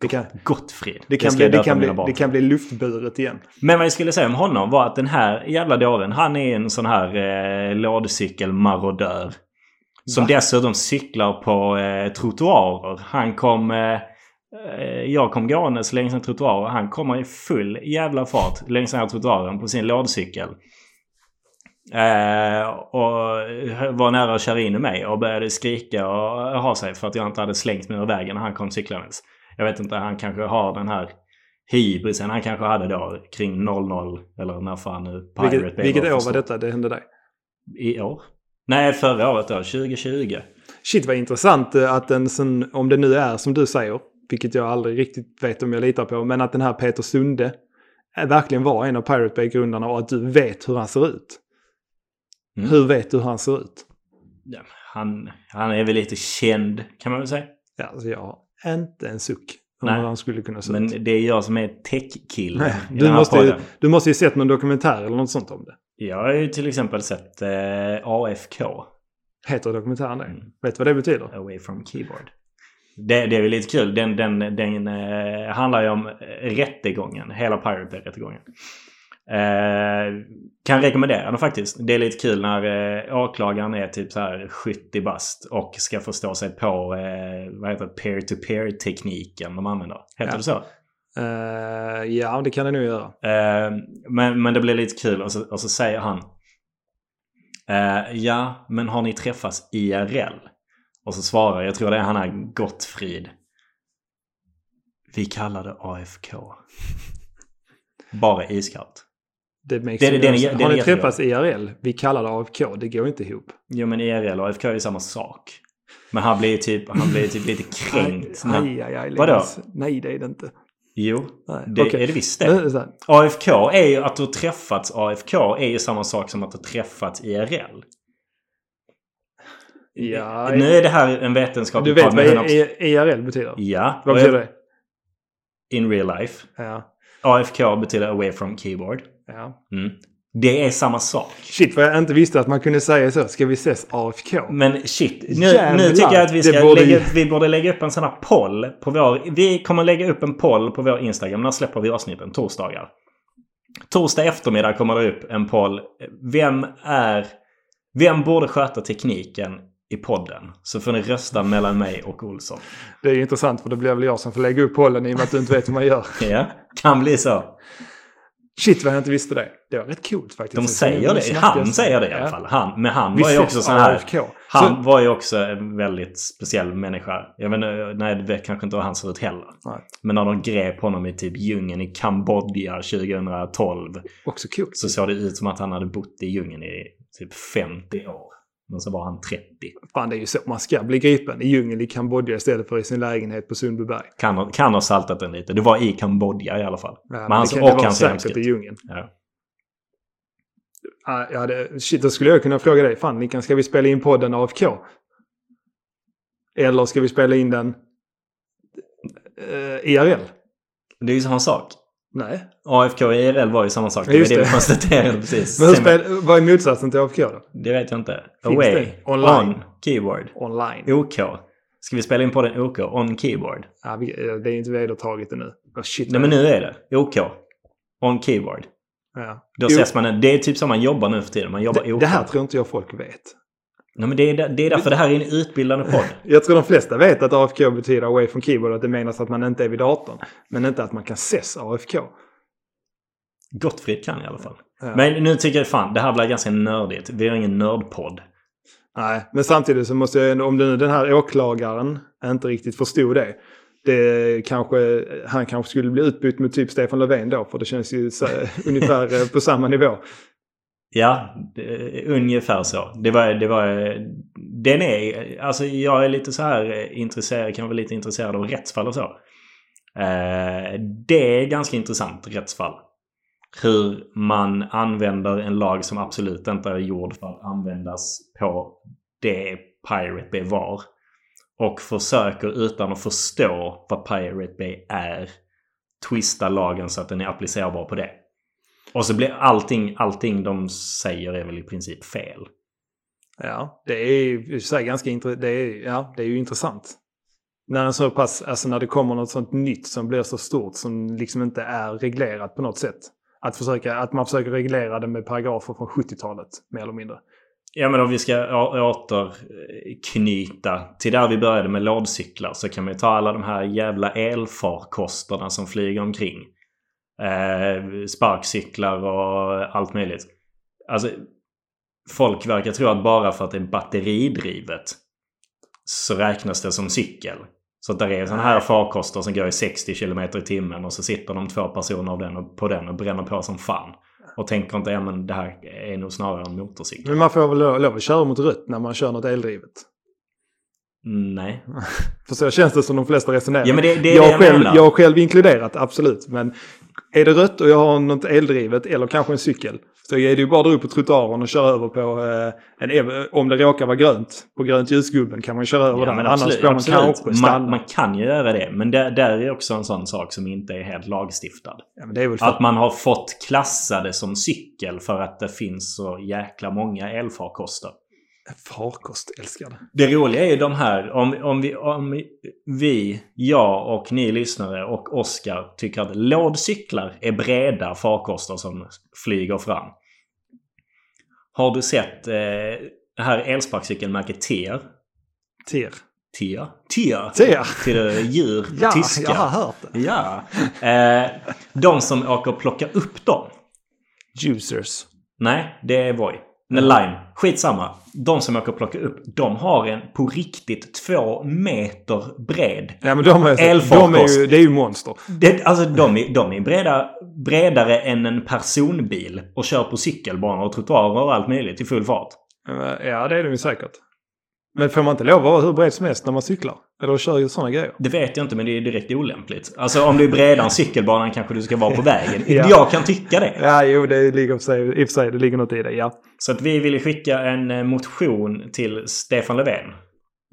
S1: Det kan,
S2: Gottfrid.
S1: det kan,
S2: ska
S1: bli,
S2: jag
S1: det
S2: döpa
S1: kan, bli,
S2: mina barn
S1: det
S2: till.
S1: kan bli luftburet igen.
S2: Men vad jag skulle säga om honom var att den här jävla dåren, han är en sån här eh, lådcykelmarodör. Som
S1: Va?
S2: dessutom cyklar på eh, trottoarer. Han kom... Eh, eh, jag kom gåendes längs en trottoar och han kommer i full jävla fart längs den här trottoaren på sin lådcykel. Eh, och var nära att köra in i mig och började skrika och ha sig för att jag inte hade slängt mig ur vägen när han kom cyklandes. Jag vet inte, han kanske har den här hybrisen han kanske hade då kring 00 eller när fan nu Pirate
S1: Vilket,
S2: Bay
S1: vilket år var
S2: förstås.
S1: detta det hände dig?
S2: I år? Nej, förra året då. 2020.
S1: Shit vad intressant eh, att en sån, om det nu är som du säger, vilket jag aldrig riktigt vet om jag litar på, men att den här Peter Sunde eh, verkligen var en av Pirate Bay-grundarna och att du vet hur han ser ut.
S2: Mm.
S1: Hur vet du hur han ser ut?
S2: Ja, Han, han är väl lite känd kan man väl säga.
S1: Ja, alltså jag har inte en suck om
S2: Nej.
S1: hur han skulle kunna se
S2: Men
S1: ut.
S2: det är jag som är tech-killen
S1: Nej,
S2: i den
S1: du,
S2: här
S1: måste ju,
S2: podden.
S1: du måste ju sett någon dokumentär eller något sånt om det.
S2: Jag har ju till exempel sett eh, AFK.
S1: Heter dokumentären det?
S2: Mm.
S1: Vet du vad det betyder?
S2: Away from keyboard. Det, det är väl lite kul. Den, den, den eh, handlar ju om eh, rättegången. Hela Pirate Bay-rättegången. Eh, kan rekommendera den faktiskt. Det är lite kul när eh, åklagaren är typ så här 70 bast och ska förstå sig på eh, vad heter det? peer-to-peer-tekniken de använder. Heter
S1: Ja.
S2: det så?
S1: Eh, ja, det kan det nog göra.
S2: Eh, men, men det blir lite kul och så, och så säger han. Eh, ja, men har ni träffats IRL? Och så svarar, jag tror det är han här Gottfrid. Vi kallar det AFK. Bara iskallt.
S1: Det makes
S2: Det-
S1: no
S2: det- den är-
S1: sense.
S2: den är
S1: Har ni
S2: jättebra.
S1: träffats IRL? Vi kallar det AFK. Det går inte ihop.
S2: Jo men IRL och AFK är ju samma sak. Men han blir ju typ, han blir ju typ lite kränkt.
S1: Aj,
S2: Nej.
S1: aj, aj, Linus.
S2: Vadå?
S1: Nej, det är det inte.
S2: Jo,
S1: Nej.
S2: det
S1: Okej. Eh,
S2: är det visst
S1: Nu är
S2: det.
S1: det så här.
S2: AFK är ju att du har träffats AFK är ju samma sak som att du har träffats IRL.
S1: Ja,
S2: Nu är det här en
S1: du
S2: vetenskaplig
S1: vet vad E-
S2: men också-
S1: I- I- IRL betyder?
S2: Ja,
S1: Vad
S2: och
S1: betyder det?
S2: in real life.
S1: Ja.
S2: AFK betyder away from keyboard.
S1: ja.
S2: Mm. Det är samma sak.
S1: Shit, vad jag inte visste att man kunde säga så. Ska vi ses AFK?
S2: Men shit, nu, nu
S1: Jävlar,
S2: tycker jag att vi
S1: det
S2: ska
S1: borde ju-
S2: lägga, vi borde lägga upp en sån här poll på vår... Vi kommer lägga upp en poll på vår Instagram. När släpper vi avsnitten? Torsdagar. Torsdag eftermiddag kommer det upp en poll. Vem är... Vem borde sköta tekniken i podden? Så får ni rösta mellan mig och Olsson.
S1: Det är ju intressant för det blir väl jag som får lägga upp pollen i och med att du inte vet hur man gör.
S2: Ja, kan bli så.
S1: Shit vad jag inte visste det. Det var rätt coolt faktiskt.
S2: De
S1: Så
S2: säger
S1: nu
S2: det.
S1: snackas-
S2: Han säger det i alla
S1: Ja.
S2: fall. Han, men han
S1: Vi
S2: var ju
S1: ses
S2: också sån här...
S1: AFK.
S2: Han
S1: Så,
S2: var ju också en väldigt speciell människa. Jag vet inte, nej det vet kanske inte hur han ser ut heller.
S1: Nej.
S2: Men när de grep honom i typ djungeln i Kambodja 2012
S1: också coolt.
S2: så såg det ut som att han hade bott i djungeln i typ 50 år. Men så var han 30.
S1: Fan det är ju så man ska bli gripen. I djungeln i Kambodja istället för i sin lägenhet på Sundbyberg.
S2: Kan, ha- kan ha saltat den lite. Det var i Kambodja i alla fall.
S1: Ja,
S2: men han,
S1: det kan
S2: och
S1: det vara
S2: han ser hemsk
S1: säkert i
S2: ut.
S1: djungeln.
S2: Ja.
S1: Ja, jag hade, shit, då skulle jag kunna fråga dig. Fan Nickan, ska vi spela in podden AFK? Eller ska vi spela in den eh, IRL?
S2: Det är ju samma sak.
S1: Nej.
S2: AFK och IRL var ju samma sak. Det
S1: Just
S2: var det vi
S1: det.
S2: konstaterade precis.
S1: Men hur
S2: Sen-
S1: spel, vad är motsatsen till AFK då?
S2: Det vet jag inte.
S1: Finns
S2: Away.
S1: det? Online.
S2: On. Keyword.
S1: Online.
S2: OK. Ska vi spela in på den OK? On keyboard.
S1: Ja, vi, eh, det är inte vedertaget ännu. Oh, shit,
S2: Nej men nu är det. OK. On keyboord.
S1: Ja. Jo.
S2: Då ses man. Det är typ som man jobbar nu för tiden. Man jobbar
S1: Det,
S2: OK.
S1: det här tror inte jag folk vet.
S2: Nej men det är, där- det är därför det här är en utbildande podd.
S1: Jag tror de flesta vet att AFK betyder away from keyboard, att det menas att man inte är vid datorn. Men inte att man kan ses AFK.
S2: Gottfrid kan i alla fall.
S1: Ja.
S2: Men nu tycker jag fan, det här blir ganska nördigt. Vi har ingen nördpodd.
S1: Nej, men samtidigt så måste jag ändå, om nu den här åklagaren inte riktigt förstod det. det kanske, han kanske skulle bli utbytt mot typ Stefan Löfven då, för det känns ju så, ungefär eh, på samma nivå.
S2: Ja, det, ungefär så. Det var, det var... Den är... Alltså jag är lite så här intresserad, kan vara lite intresserad av rättsfall och så. Eh, det är ganska intressant, rättsfall. Hur man använder en lag som absolut inte är gjord för att användas på det Pirate Bay var. Och försöker utan att förstå vad Pirate Bay är twista lagen så att den är applicerbar på det. Och så blir allting, allting de säger är väl i princip fel.
S1: Ja, det är ju i och för sig ganska intressant. Det är, ja, det är ju intressant. När, en så pass, alltså när det kommer något sånt nytt som blir så stort som liksom inte är reglerat på något sätt. Att, försöka, att man försöker reglera det med paragrafer från 70-talet, mer eller mindre.
S2: Ja men om vi ska å- återknyta till där vi började med lådcyklar så kan man ju ta alla de här jävla elfarkosterna som flyger omkring. Eh, sparkcyklar och allt möjligt. Alltså, folk verkar tro att bara för att det är batteridrivet så räknas det som cykel. Så att där är sådana här farkoster som går i 60 km i timmen och så sitter de två personer av den och- på den och bränner på som fan. Och tänker inte, ja men det här är nog snarare en motorcykel.
S1: Men man får väl lo- lov att köra mot rött när man kör något eldrivet.
S2: Mm, Nej.
S1: För så känns det som de flesta resonerar.
S2: Ja, men det- det är
S1: jag,
S2: det jag
S1: själv,
S2: menar.
S1: jag själv inkluderat, absolut. Men är det rött och jag har något eldrivet eller kanske en cykel. Så är det ju bara att dra upp på trottoaren och köra över på eh, en, ev- om det råkar vara grönt. På grönt ljusgubben kan man köra över
S2: Ja,
S1: där.
S2: men
S1: Annars
S2: absolut,
S1: får man
S2: absolut.
S1: kanske
S2: man,
S1: stanna.
S2: man kan ju göra det. Men där, där är också en sån sak som inte är helt lagstiftad.
S1: ja, men det är väl för...
S2: Att man har fått klassa det som cykel för att det finns så jäkla många elfarkoster.
S1: Farkost, älskar det.
S2: Det roliga är ju de här, om, om, vi, om vi, jag och ni lyssnare och Oskar tycker att lådcyklar är breda farkoster som flyger fram. Har du sett eh, det här elsparkcykelmärket E TIR?
S1: Ter.
S2: TIR? TIR?
S1: Ter?
S2: till eh, djur på
S1: Ja,
S2: tyska.
S1: jag har hört det.
S2: Ja. Eh, de som åker och plockar upp dem.
S1: Juicers.
S2: Nej, det är Voi. Nej,
S1: Mm.
S2: Lime. Skitsamma. De som åker och plockar upp, de har en på riktigt två meter bred.
S1: Ja, men de är,
S2: Elfarkost.
S1: de är ju, det är ju monster.
S2: Det, alltså de är, de är breda, bredare än en personbil och kör på cykelbanor och trottoarer och allt möjligt i full fart.
S1: Ja, det är de ju säkert. Men får man inte lov att vara hur bred som helst när man cyklar? Eller kör ju sådana grejer?
S2: Det vet jag inte, men det är direkt olämpligt. Alltså om du är bredare än cykelbanan kanske du ska vara på vägen.
S1: Ja.
S2: Jag kan tycka det.
S1: Ja, jo, det ligger i och för sig, i och för sig det ligger något i det, ja.
S2: Så att vi ville skicka en eh, motion till Stefan Löfven.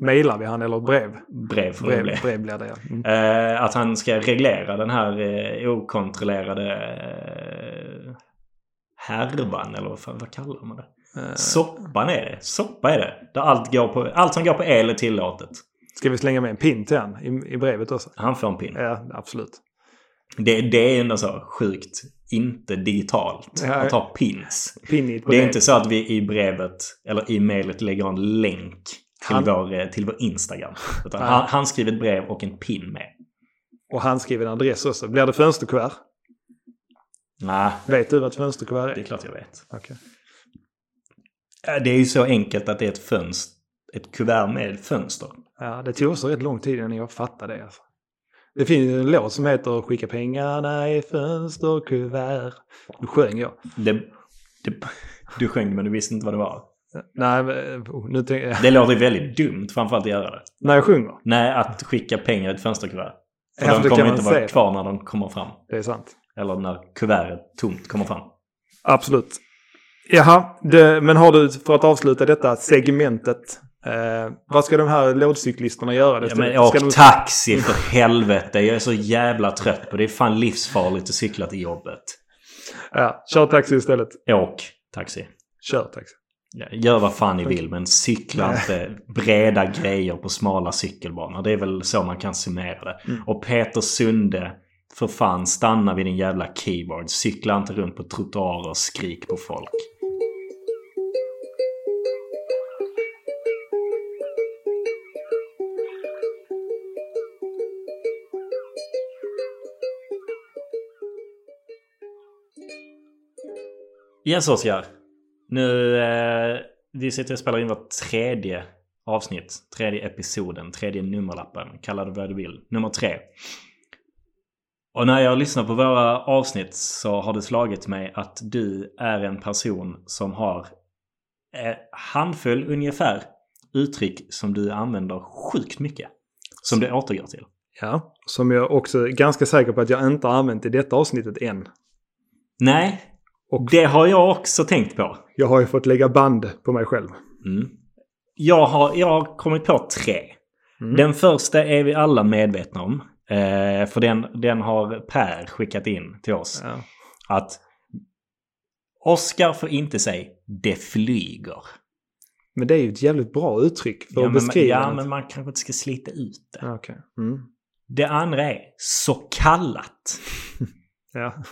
S1: Mailar vi han eller brev?
S2: Brev får det bli.
S1: Brev, brev blir det, ja. Mm.
S2: Eh, att han ska reglera den här eh, okontrollerade eh, härvan, eller vad, fan, vad kallar man det?
S1: Eh,
S2: Soppan är det. Soppa är det. Där allt, går på, allt som går på el är tillåtet.
S1: Ska vi slänga med en pin till han i, i brevet också?
S2: Han får en pin.
S1: Ja, absolut.
S2: Det, det är ändå så sjukt inte digitalt
S1: Ja.
S2: att ha pins.
S1: Pin i ett brev.
S2: Det är inte så att vi i brevet eller i mejlet lägger en länk till,
S1: Han-
S2: vår, eh, till vår Instagram. Utan
S1: Nej.
S2: han, han skriver ett brev och en pin med.
S1: Och handskriven adress också. Blir det fönsterkuvert?
S2: Nej,
S1: Vet du vad ett fönsterkuvert är?
S2: det är klart jag vet.
S1: Okej.
S2: Eh, Det är ju så enkelt att det är ett fönster. Ett kuvert med fönster.
S1: Ja, det tog också rätt lång tid innan jag fattade det. Alltså. Det finns en låt som heter Skicka pengarna i fönsterkuvert. Då sjöng jag.
S2: Det, det, du sjöng men du visste inte vad det var.
S1: Nej, men, oh, nu tänker jag.
S2: Det låter ju väldigt dumt framförallt att göra det.
S1: När jag sjunger.
S2: Nej, att skicka pengar i ett fönsterkuvert. För
S1: Ja,
S2: de
S1: det
S2: kommer
S1: kan man
S2: inte vara
S1: se.
S2: kvar när de kommer fram.
S1: Det är sant.
S2: Eller när kuvertet tomt kommer fram.
S1: Absolut. Jaha, det, men har du, för att avsluta detta segmentet. Eh, vad ska de här lågcyklisterna göra?
S2: Ja, men
S1: ska de,
S2: åk taxi för helvete. Jag är så jävla trött på det. Det är fan livsfarligt att cykla till jobbet.
S1: ja, kör taxi istället.
S2: Åk taxi.
S1: Kör taxi.
S2: Ja, Gör vad fan ni vill men cykla inte breda grejer på smala cykelbanor. Det är väl så man kan summera det.
S1: Mm.
S2: Och Peter Sunde, för fan stanna vid din jävla keyboard. Cykla inte runt på trottoarer och skrik på folk. Yes Oskar. Nu, eh, vi sitter och spelar in vårt tredje avsnitt. Tredje episoden, tredje nummerlappen. Kalla det vad du vill. Nummer tre. Och när jag lyssnar på våra avsnitt så har det slagit mig att du är en person som har en handfull ungefär uttryck som du använder sjukt mycket. Som du återgår till.
S1: Ja, som jag också är ganska säker på att jag inte har använt i detta avsnittet än.
S2: Nej,
S1: Och-
S2: det har jag också tänkt på.
S1: Jag har ju fått lägga band på mig själv.
S2: Mm. Jag, har, jag har kommit på tre.
S1: Mm.
S2: Den första är vi alla medvetna om. Eh, för den, den har Per skickat in till oss.
S1: Ja.
S2: Att Oscar får inte säga det flyger.
S1: Men det är ju ett jävligt bra uttryck för att
S2: men,
S1: beskriva
S2: ja,
S1: något.
S2: men man kanske inte ska slita ut det.
S1: Ja, okej. Mm.
S2: Det andra är så kallat.
S1: Ja.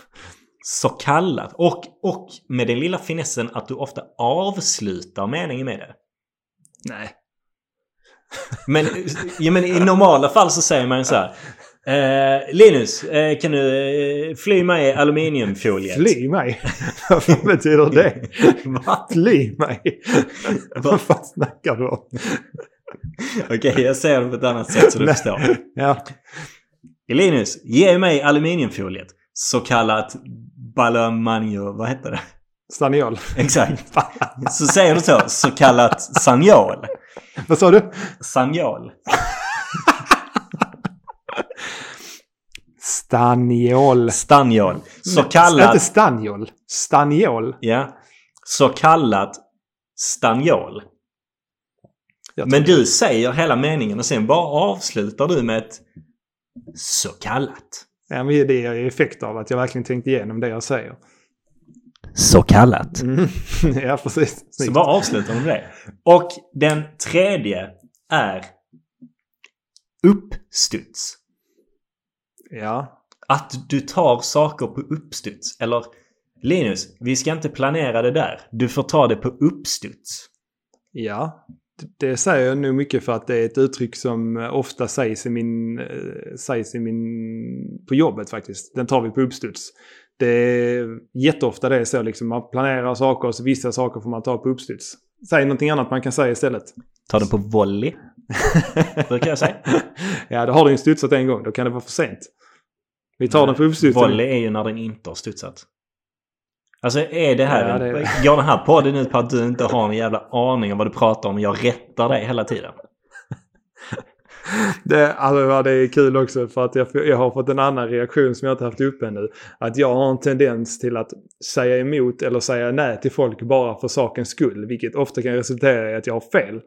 S2: Så kallat. Och, och med den lilla finessen att du ofta avslutar meningen med det.
S1: Nej.
S2: Men, ja, men i normala fall så säger man ju så här. Eh, Linus, eh, kan du eh, fly mig aluminiumfoliet?
S1: Fly mig. Vad fan betyder det?
S2: Va?
S1: Fly mig. Vad fan snackar du om?
S2: Okej, jag säger det på ett annat sätt så du
S1: Nej.
S2: förstår.
S1: Ja.
S2: Linus, ge mig aluminiumfoliet. Så kallat balamanjo... Vad heter det?
S1: Staniol.
S2: Exakt. Så säger du så. Så kallat sanjol.
S1: Vad sa du?
S2: Sanjol.
S1: Staniol.
S2: Stanjol. Så
S1: Inte
S2: kallat...
S1: staniol. Staniol.
S2: Ja. Så kallat stanjol.
S1: Jag
S2: Men du säger hela meningen och sen bara avslutar du med ett så kallat.
S1: Ja, men det är ju effekt av att jag verkligen tänkte igenom det jag säger.
S2: Så kallat.
S1: Mm. Ja, precis.
S2: Så
S1: Snyggt.
S2: bara avslutar du med det. Och den tredje är uppstuds.
S1: Ja.
S2: Att du tar saker på uppstuds. Eller Linus, vi ska inte planera det där. Du får ta det på uppstuds.
S1: Ja. D- Det säger jag nog mycket för att det är ett uttryck som eh, ofta sägs i min... eh, sägs i min... på jobbet faktiskt. Den tar vi på uppstuds. Det är jätteofta det är så liksom. Man planerar saker och så vissa saker får man ta på uppstuds. Säg någonting annat man kan säga istället.
S2: Ta det på volley. Brukar jag säga.
S1: ja, då har du ju studsat en gång. Då kan det vara för sent. Vi tar den på uppstuds.
S2: Volley är ju när den inte har studsat. Alltså är det här...
S1: Ja, det-
S2: Går den här podden ut på att du inte har en jävla aning om vad du pratar om och jag rättar dig hela tiden?
S1: Det, alltså, ja, det är kul också för att jag, jag har fått en annan reaktion som jag inte haft uppe nu. Att jag har en tendens till att säga emot eller säga nej till folk bara för sakens skull. Vilket ofta kan resultera i att jag har fel.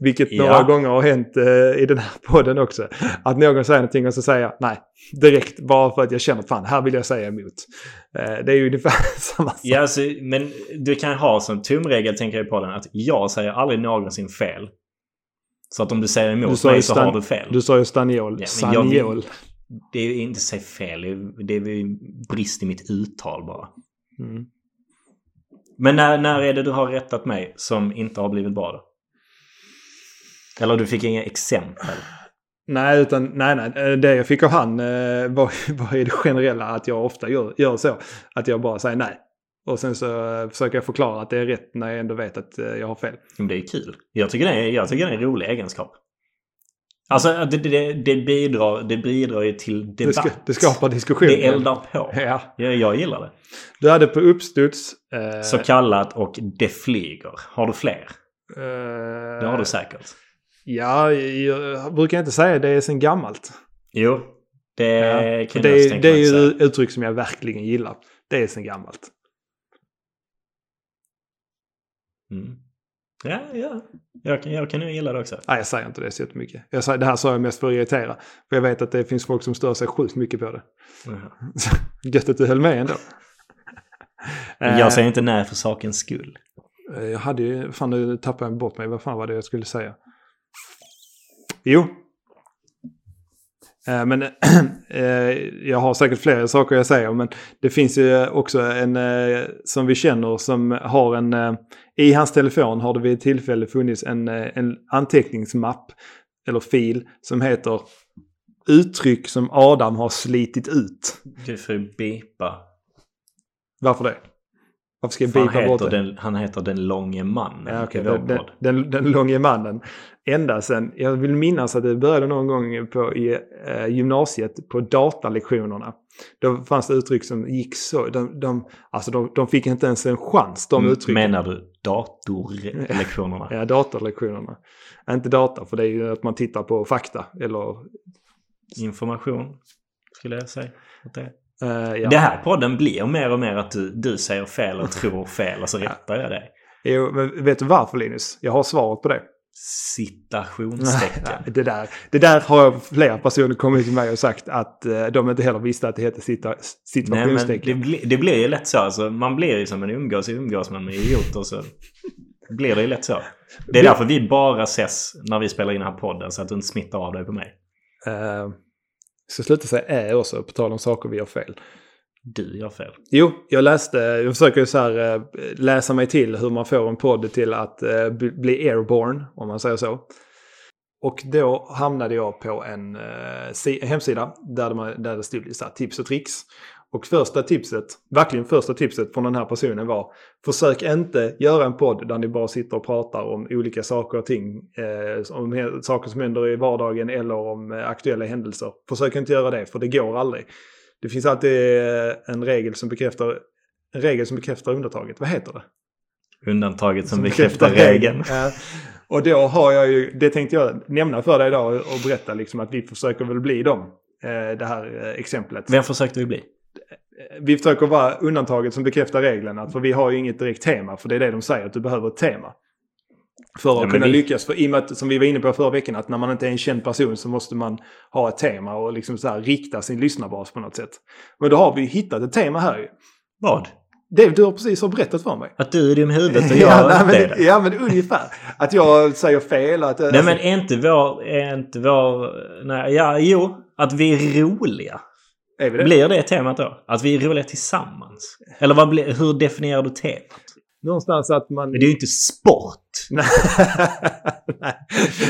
S1: Vilket
S2: Ja.
S1: några gånger har hänt eh, i den här podden också. Att någon säger någonting och så säger jag nej. Direkt bara för att jag känner fan här vill jag säga emot. Eh, det är ju ungefär samma sak.
S2: Ja, alltså, men du kan ha som tumregel, tänker jag i podden, att jag säger aldrig någonsin fel. Så att om du säger
S1: Du
S2: emot
S1: sa
S2: mig
S1: ju
S2: så
S1: stan-
S2: har du fel.
S1: Du sa ju staniol.
S2: Ja, men jag vill-
S1: Saniol.
S2: Det är ju inte säg fel, det är- det är ju brist i mitt uttal bara.
S1: Mm.
S2: Men när, när är det du har rättat mig som inte har blivit bra då? Eller du fick inga exempel?
S1: Nej, utan, nej, nej, det jag fick av han eh, var, var ju det generella att jag ofta gör, gör så. Att jag bara säger nej. Och sen så eh, försöker jag förklara att det är rätt när jag ändå vet att eh, jag har fel.
S2: Men det är kul. Jag tycker det är, jag tycker det är en rolig egenskap. Alltså det, det, det, bidrar, det bidrar ju till
S1: Det, ska,
S2: debatt.
S1: det skapar diskussion.
S2: Det eldar på.
S1: Ja.
S2: Jag, jag gillar det.
S1: Du hade på uppstuds... Eh,
S2: Så kallat och det flyger. Har du fler?
S1: eh,
S2: Det har du säkert.
S1: Ja, jag, jag brukar inte säga det sen gammalt.
S2: Jo. Det
S1: För
S2: Eh, kan jag också
S1: det,
S2: tänka
S1: det är
S2: mig att säga.
S1: ju uttryck som jag verkligen gillar. Det är sen gammalt.
S2: Mm. Ja, ja. Jag kan, jag kan nog gilla det också.
S1: Nej, jag säger inte det så jättemycket. Jag säger, det här sa jag mest för att irritera. För jag vet att det finns folk som stör sig sjukt mycket på det.
S2: Jaha.
S1: Ah. Gött att du höll med ändå.
S2: Men
S1: Eh,
S2: Jag säger inte nej för sakens skull.
S1: Eh, Jag hade ju, fan nu tappade jag bort mig, vad fan var det jag skulle säga? Jo. Eh, Men eh, jag har säkert fler saker jag säger, men det finns ju också en eh, som vi känner som har en... eh, I hans telefon har det vid ett tillfälle funnits en, eh, en anteckningsmapp eller fil som heter uttryck som Adam har slitit ut.
S2: Du får ju bipa.
S1: Varför det? Varför ska jag
S2: Han
S1: bipa bort
S2: heter,
S1: det?
S2: den, han heter den långe mannen
S1: Ja, okej.
S2: i vår
S1: den, den,
S2: podd.
S1: den, den långe mannen. Ända sen, jag vill minnas att det började någon gång på, i eh, gymnasiet på datalektionerna. Då fanns det uttryck som gick så. De, de, alltså de, de fick inte ens en chans,
S2: Mm,
S1: de uttrycken.
S2: Menar du datorlektionerna?
S1: Ja, datalektionerna. Inte data, för det är ju att man tittar på fakta. Eller,
S2: Information, skulle jag säga. Att det.
S1: eh, ja.
S2: det här podden blir mer och mer att du, du säger fel och tror fel och så rättar jag dig.
S1: Jo, men vet du varför Linus? Jag har svaret på det.
S2: Citationstecken.
S1: Det där, det där har flera personer kommit till mig och sagt att eh, de inte heller visste att det hette sitta-
S2: Nej men
S1: situationstecken.
S2: det, bli, det blir ju lätt så. Alltså, man blir ju som en umgås, umgås man med idioter så blir det ju lätt så. Det är därför vi bara ses när vi spelar in den här podden så att du inte smittar av dig på mig.
S1: Uh, så sluta säga är också, på tal om saker vi gör fel.
S2: Du gör fel.
S1: Jo, jag läste, jag försöker ju så här eh, läsa mig till hur man får en podd till att eh, bli- bli airborne, om man säger så. Och då hamnade jag på en, eh, si- en hemsida där, man, där det stod så här, tips och tricks. Och första tipset, verkligen första tipset från den här personen var Försök inte göra en podd där ni bara sitter och pratar om olika saker och ting. Eh, om he- saker som händer i vardagen eller om eh, aktuella händelser. Försök inte göra det, för det går aldrig. Det finns alltid eh, en regel som bekräftar, en regel som bekräftar undantaget. Vad heter det?
S2: Undantaget som, bekräftar regeln.
S1: Ja. Och då har jag ju, det tänkte jag nämna för dig idag och berätta liksom att vi försöker väl bli dem. eh, Det här eh, exemplet.
S2: Vem försökte vi bli?
S1: Eh, Vi försöker vara undantaget som bekräftar reglerna. För vi har ju inget direkt tema. För det är det de säger, att du behöver ett tema. För att
S2: men
S1: kunna
S2: vi-
S1: lyckas. För i och med att, som vi var inne på förra veckan, att när man inte är en känd person så måste man ha ett tema och liksom så här rikta sin lyssnarbas på något sätt. Men då har vi ju hittat ett tema här ju.
S2: Vad?
S1: Det du har precis har berättat för mig.
S2: Att du är dum i huvudet och jag
S1: Ja, nej,
S2: inte är
S1: men,
S2: det.
S1: ja, men ungefär. Att jag säger fel. Att, alltså,
S2: Nej men är inte vår... Är inte vår nej, ja, jo. Att vi är roliga.
S1: är vi det?
S2: Blir det temat då? Att vi är roliga tillsammans? Eller vad blir, hur definierar du temat?
S1: Någonstans att man...
S2: Men det är ju inte sport.
S1: Nej. Nej.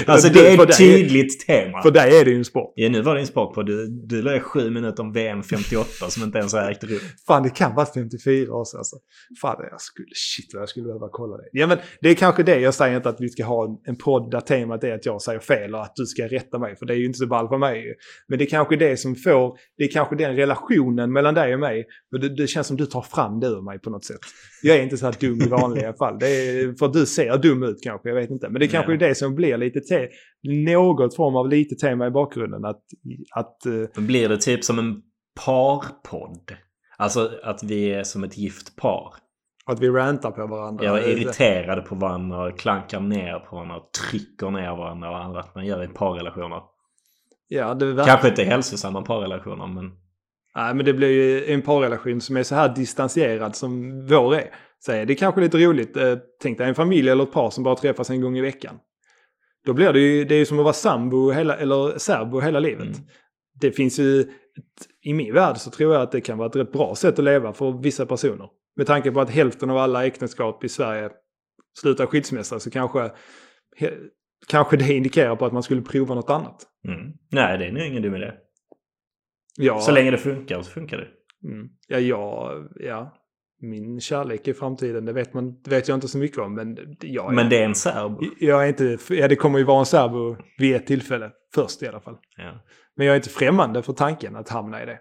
S2: Alltså
S1: För
S2: det
S1: dig-
S2: är
S1: för
S2: ett
S1: dig-
S2: tydligt tema.
S1: För dig är det ju en sport.
S2: Ja, nu var det en sport på. Du, du la sju minuter om VM 58 som inte ens har ägt rum.
S1: Fan, det kan vara 54 år sedan. Alltså. Fan, jag skulle, shit vad jag skulle behöva kolla det. Ja, men det är kanske det. Jag säger inte att vi ska ha en, en podd där temat är att jag säger fel och att du ska rätta mig. För det är ju inte så ball för mig. ju. Men det är kanske det som får, det är kanske den relationen mellan dig och mig. Och det, det känns som du tar fram det ur mig på något sätt. Jag är inte så här dum i vanliga fall. Det är, för du ser dum ut kanske, jag vet inte. Men det är kanske
S2: Nej.
S1: är det som blir lite te, något form av lite tema i bakgrunden. Att, att eh,
S2: Men blir det typ som en parpodd? Alltså att vi är som ett gift par.
S1: Att vi rantar på varandra.
S2: Jag är irriterade på varandra, och klankar ner på varandra, och trycker ner varandra och annat man gör i parrelationer.
S1: Ja, det verkar...
S2: Kanske inte hälsosamma parrelationer men...
S1: Nej, men det blir ju en parrelation som är så här distanserad som vår är. Så är det kanske lite roligt. Eh, Tänk dig en familj eller ett par som bara träffas en gång i veckan. Då blir det ju, det är ju som att vara sambo hela, eller särbo hela livet.
S2: Mm.
S1: Det finns ju, ett- i min värld så tror jag att det kan vara ett rätt bra sätt att leva för vissa personer. Med tanke på att hälften av alla äktenskap i Sverige slutar skilsmässa så kanske he- kanske det indikerar på att man skulle prova något annat.
S2: Mm. Nej, det är nog ingen dum idé.
S1: Ja,
S2: Så länge det funkar så funkar det.
S1: mm, ja, ja, ja. Min kärlek i framtiden, det vet, man, det vet jag inte så mycket om. Men jag är,
S2: Men det är en serb.
S1: jag är inte... Ja, det kommer ju vara en serbo vid ett tillfälle. Först i alla fall.
S2: Ja.
S1: Men jag är inte främmande för tanken att hamna i det.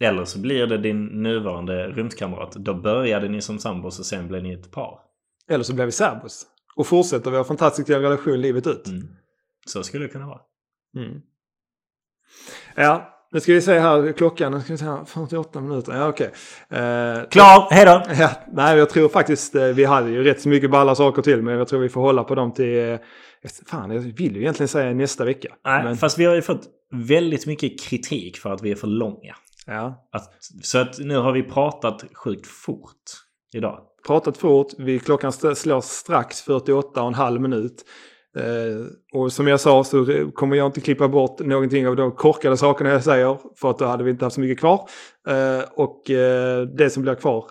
S2: Eller så blir det din nuvarande rumskamrat. Då började ni som sambos och sen blev ni ett par.
S1: Eller så blir vi serbos. Och fortsätter vi ha fantastisk relation livet ut.
S2: Mm. Så skulle det kunna vara.
S1: Mm. Ja, nu ska vi se här klockan. Nu ska vi se här, 48 minuter. Ja, okej. Eh,
S2: Klar! Hejdå!
S1: Ja, nej, jag tror faktiskt eh, vi hade ju rätt så mycket balla saker till. Men jag tror vi får hålla på dem till... eh, Fan, jag vill ju egentligen säga nästa vecka.
S2: Nej,
S1: men,
S2: fast vi har ju fått väldigt mycket kritik för att vi är för långa.
S1: ja.
S2: Att, så att nu har vi pratat sjukt fort idag.
S1: Pratat fort. Vi, klockan st- slår strax 48 och en halv minut. Eh, och som jag sa så re- kommer jag inte klippa bort någonting av de korkade sakerna jag säger. För att då hade vi inte haft så mycket kvar. Eh, och eh, det som blir kvar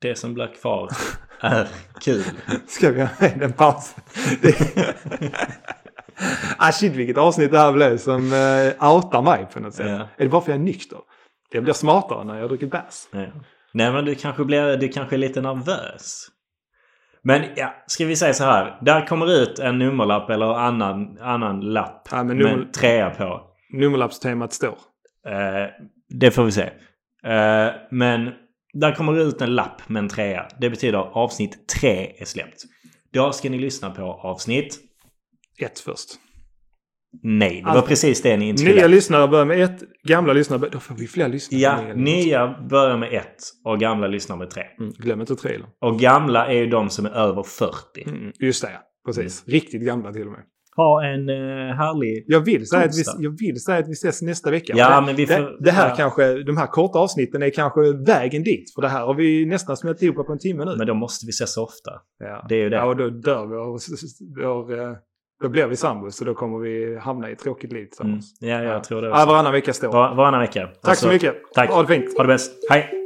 S2: Det som blir kvar är kul.
S1: Ska vi ha med en paus? Det- ah shit vilket avsnitt det här blev som eh, outar mig på något sätt.
S2: Ja.
S1: Är det bara för att jag är nykter? Jag blir smartare när jag har druckit bärs.
S2: Ja. Nej men du kanske blir du kanske är lite nervös. Men ja, ska vi säga så här. Där kommer ut en nummerlapp eller annan, annan lapp
S1: Ja, men nummer-
S2: med trea på.
S1: Nummerlappstemat står.
S2: Eh, det får vi se. Eh, men där kommer det ut en lapp med en trea. Det betyder avsnitt tre är släppt. Då ska ni lyssna på avsnitt...
S1: Ett först.
S2: Nej, det var
S1: Alltså,
S2: precis det ni inte skulle.
S1: Nya lyssnare börjar med ett, gamla lyssnare börjar... Då får vi fler lyssnare.
S2: Ja, nya börjar med ett och gamla lyssnar med tre.
S1: Mm, glöm inte trailern.
S2: Och gamla är ju de som är över 40.
S1: Mm, just det, ja.
S2: Mm.
S1: precis. Riktigt gamla till och med.
S2: Ha en eh, härlig...
S1: Jag vill, säga att vi,
S2: Torsdag.
S1: jag vill säga att vi ses nästa vecka.
S2: Ja,
S1: det,
S2: men vi
S1: det,
S2: får-
S1: det här
S2: ja.
S1: kanske, de här korta avsnitten är kanske vägen dit. För det här har vi nästan smält ihop på en timme nu.
S2: Men då måste vi ses ofta.
S1: Ja.
S2: Det är ju det.
S1: Ja, och då dör vi och, och, eh, då blir vi sambos och då kommer vi hamna i ett tråkigt liv
S2: Mm.
S1: tillsammans.
S2: Ja, jag tror det
S1: Ja,
S2: också.
S1: varannan vecka står.
S2: Var, varannan vecka. Alltså,
S1: Tack så mycket.
S2: Tack.
S1: Ha det fint.
S2: Ha det bäst. Hej!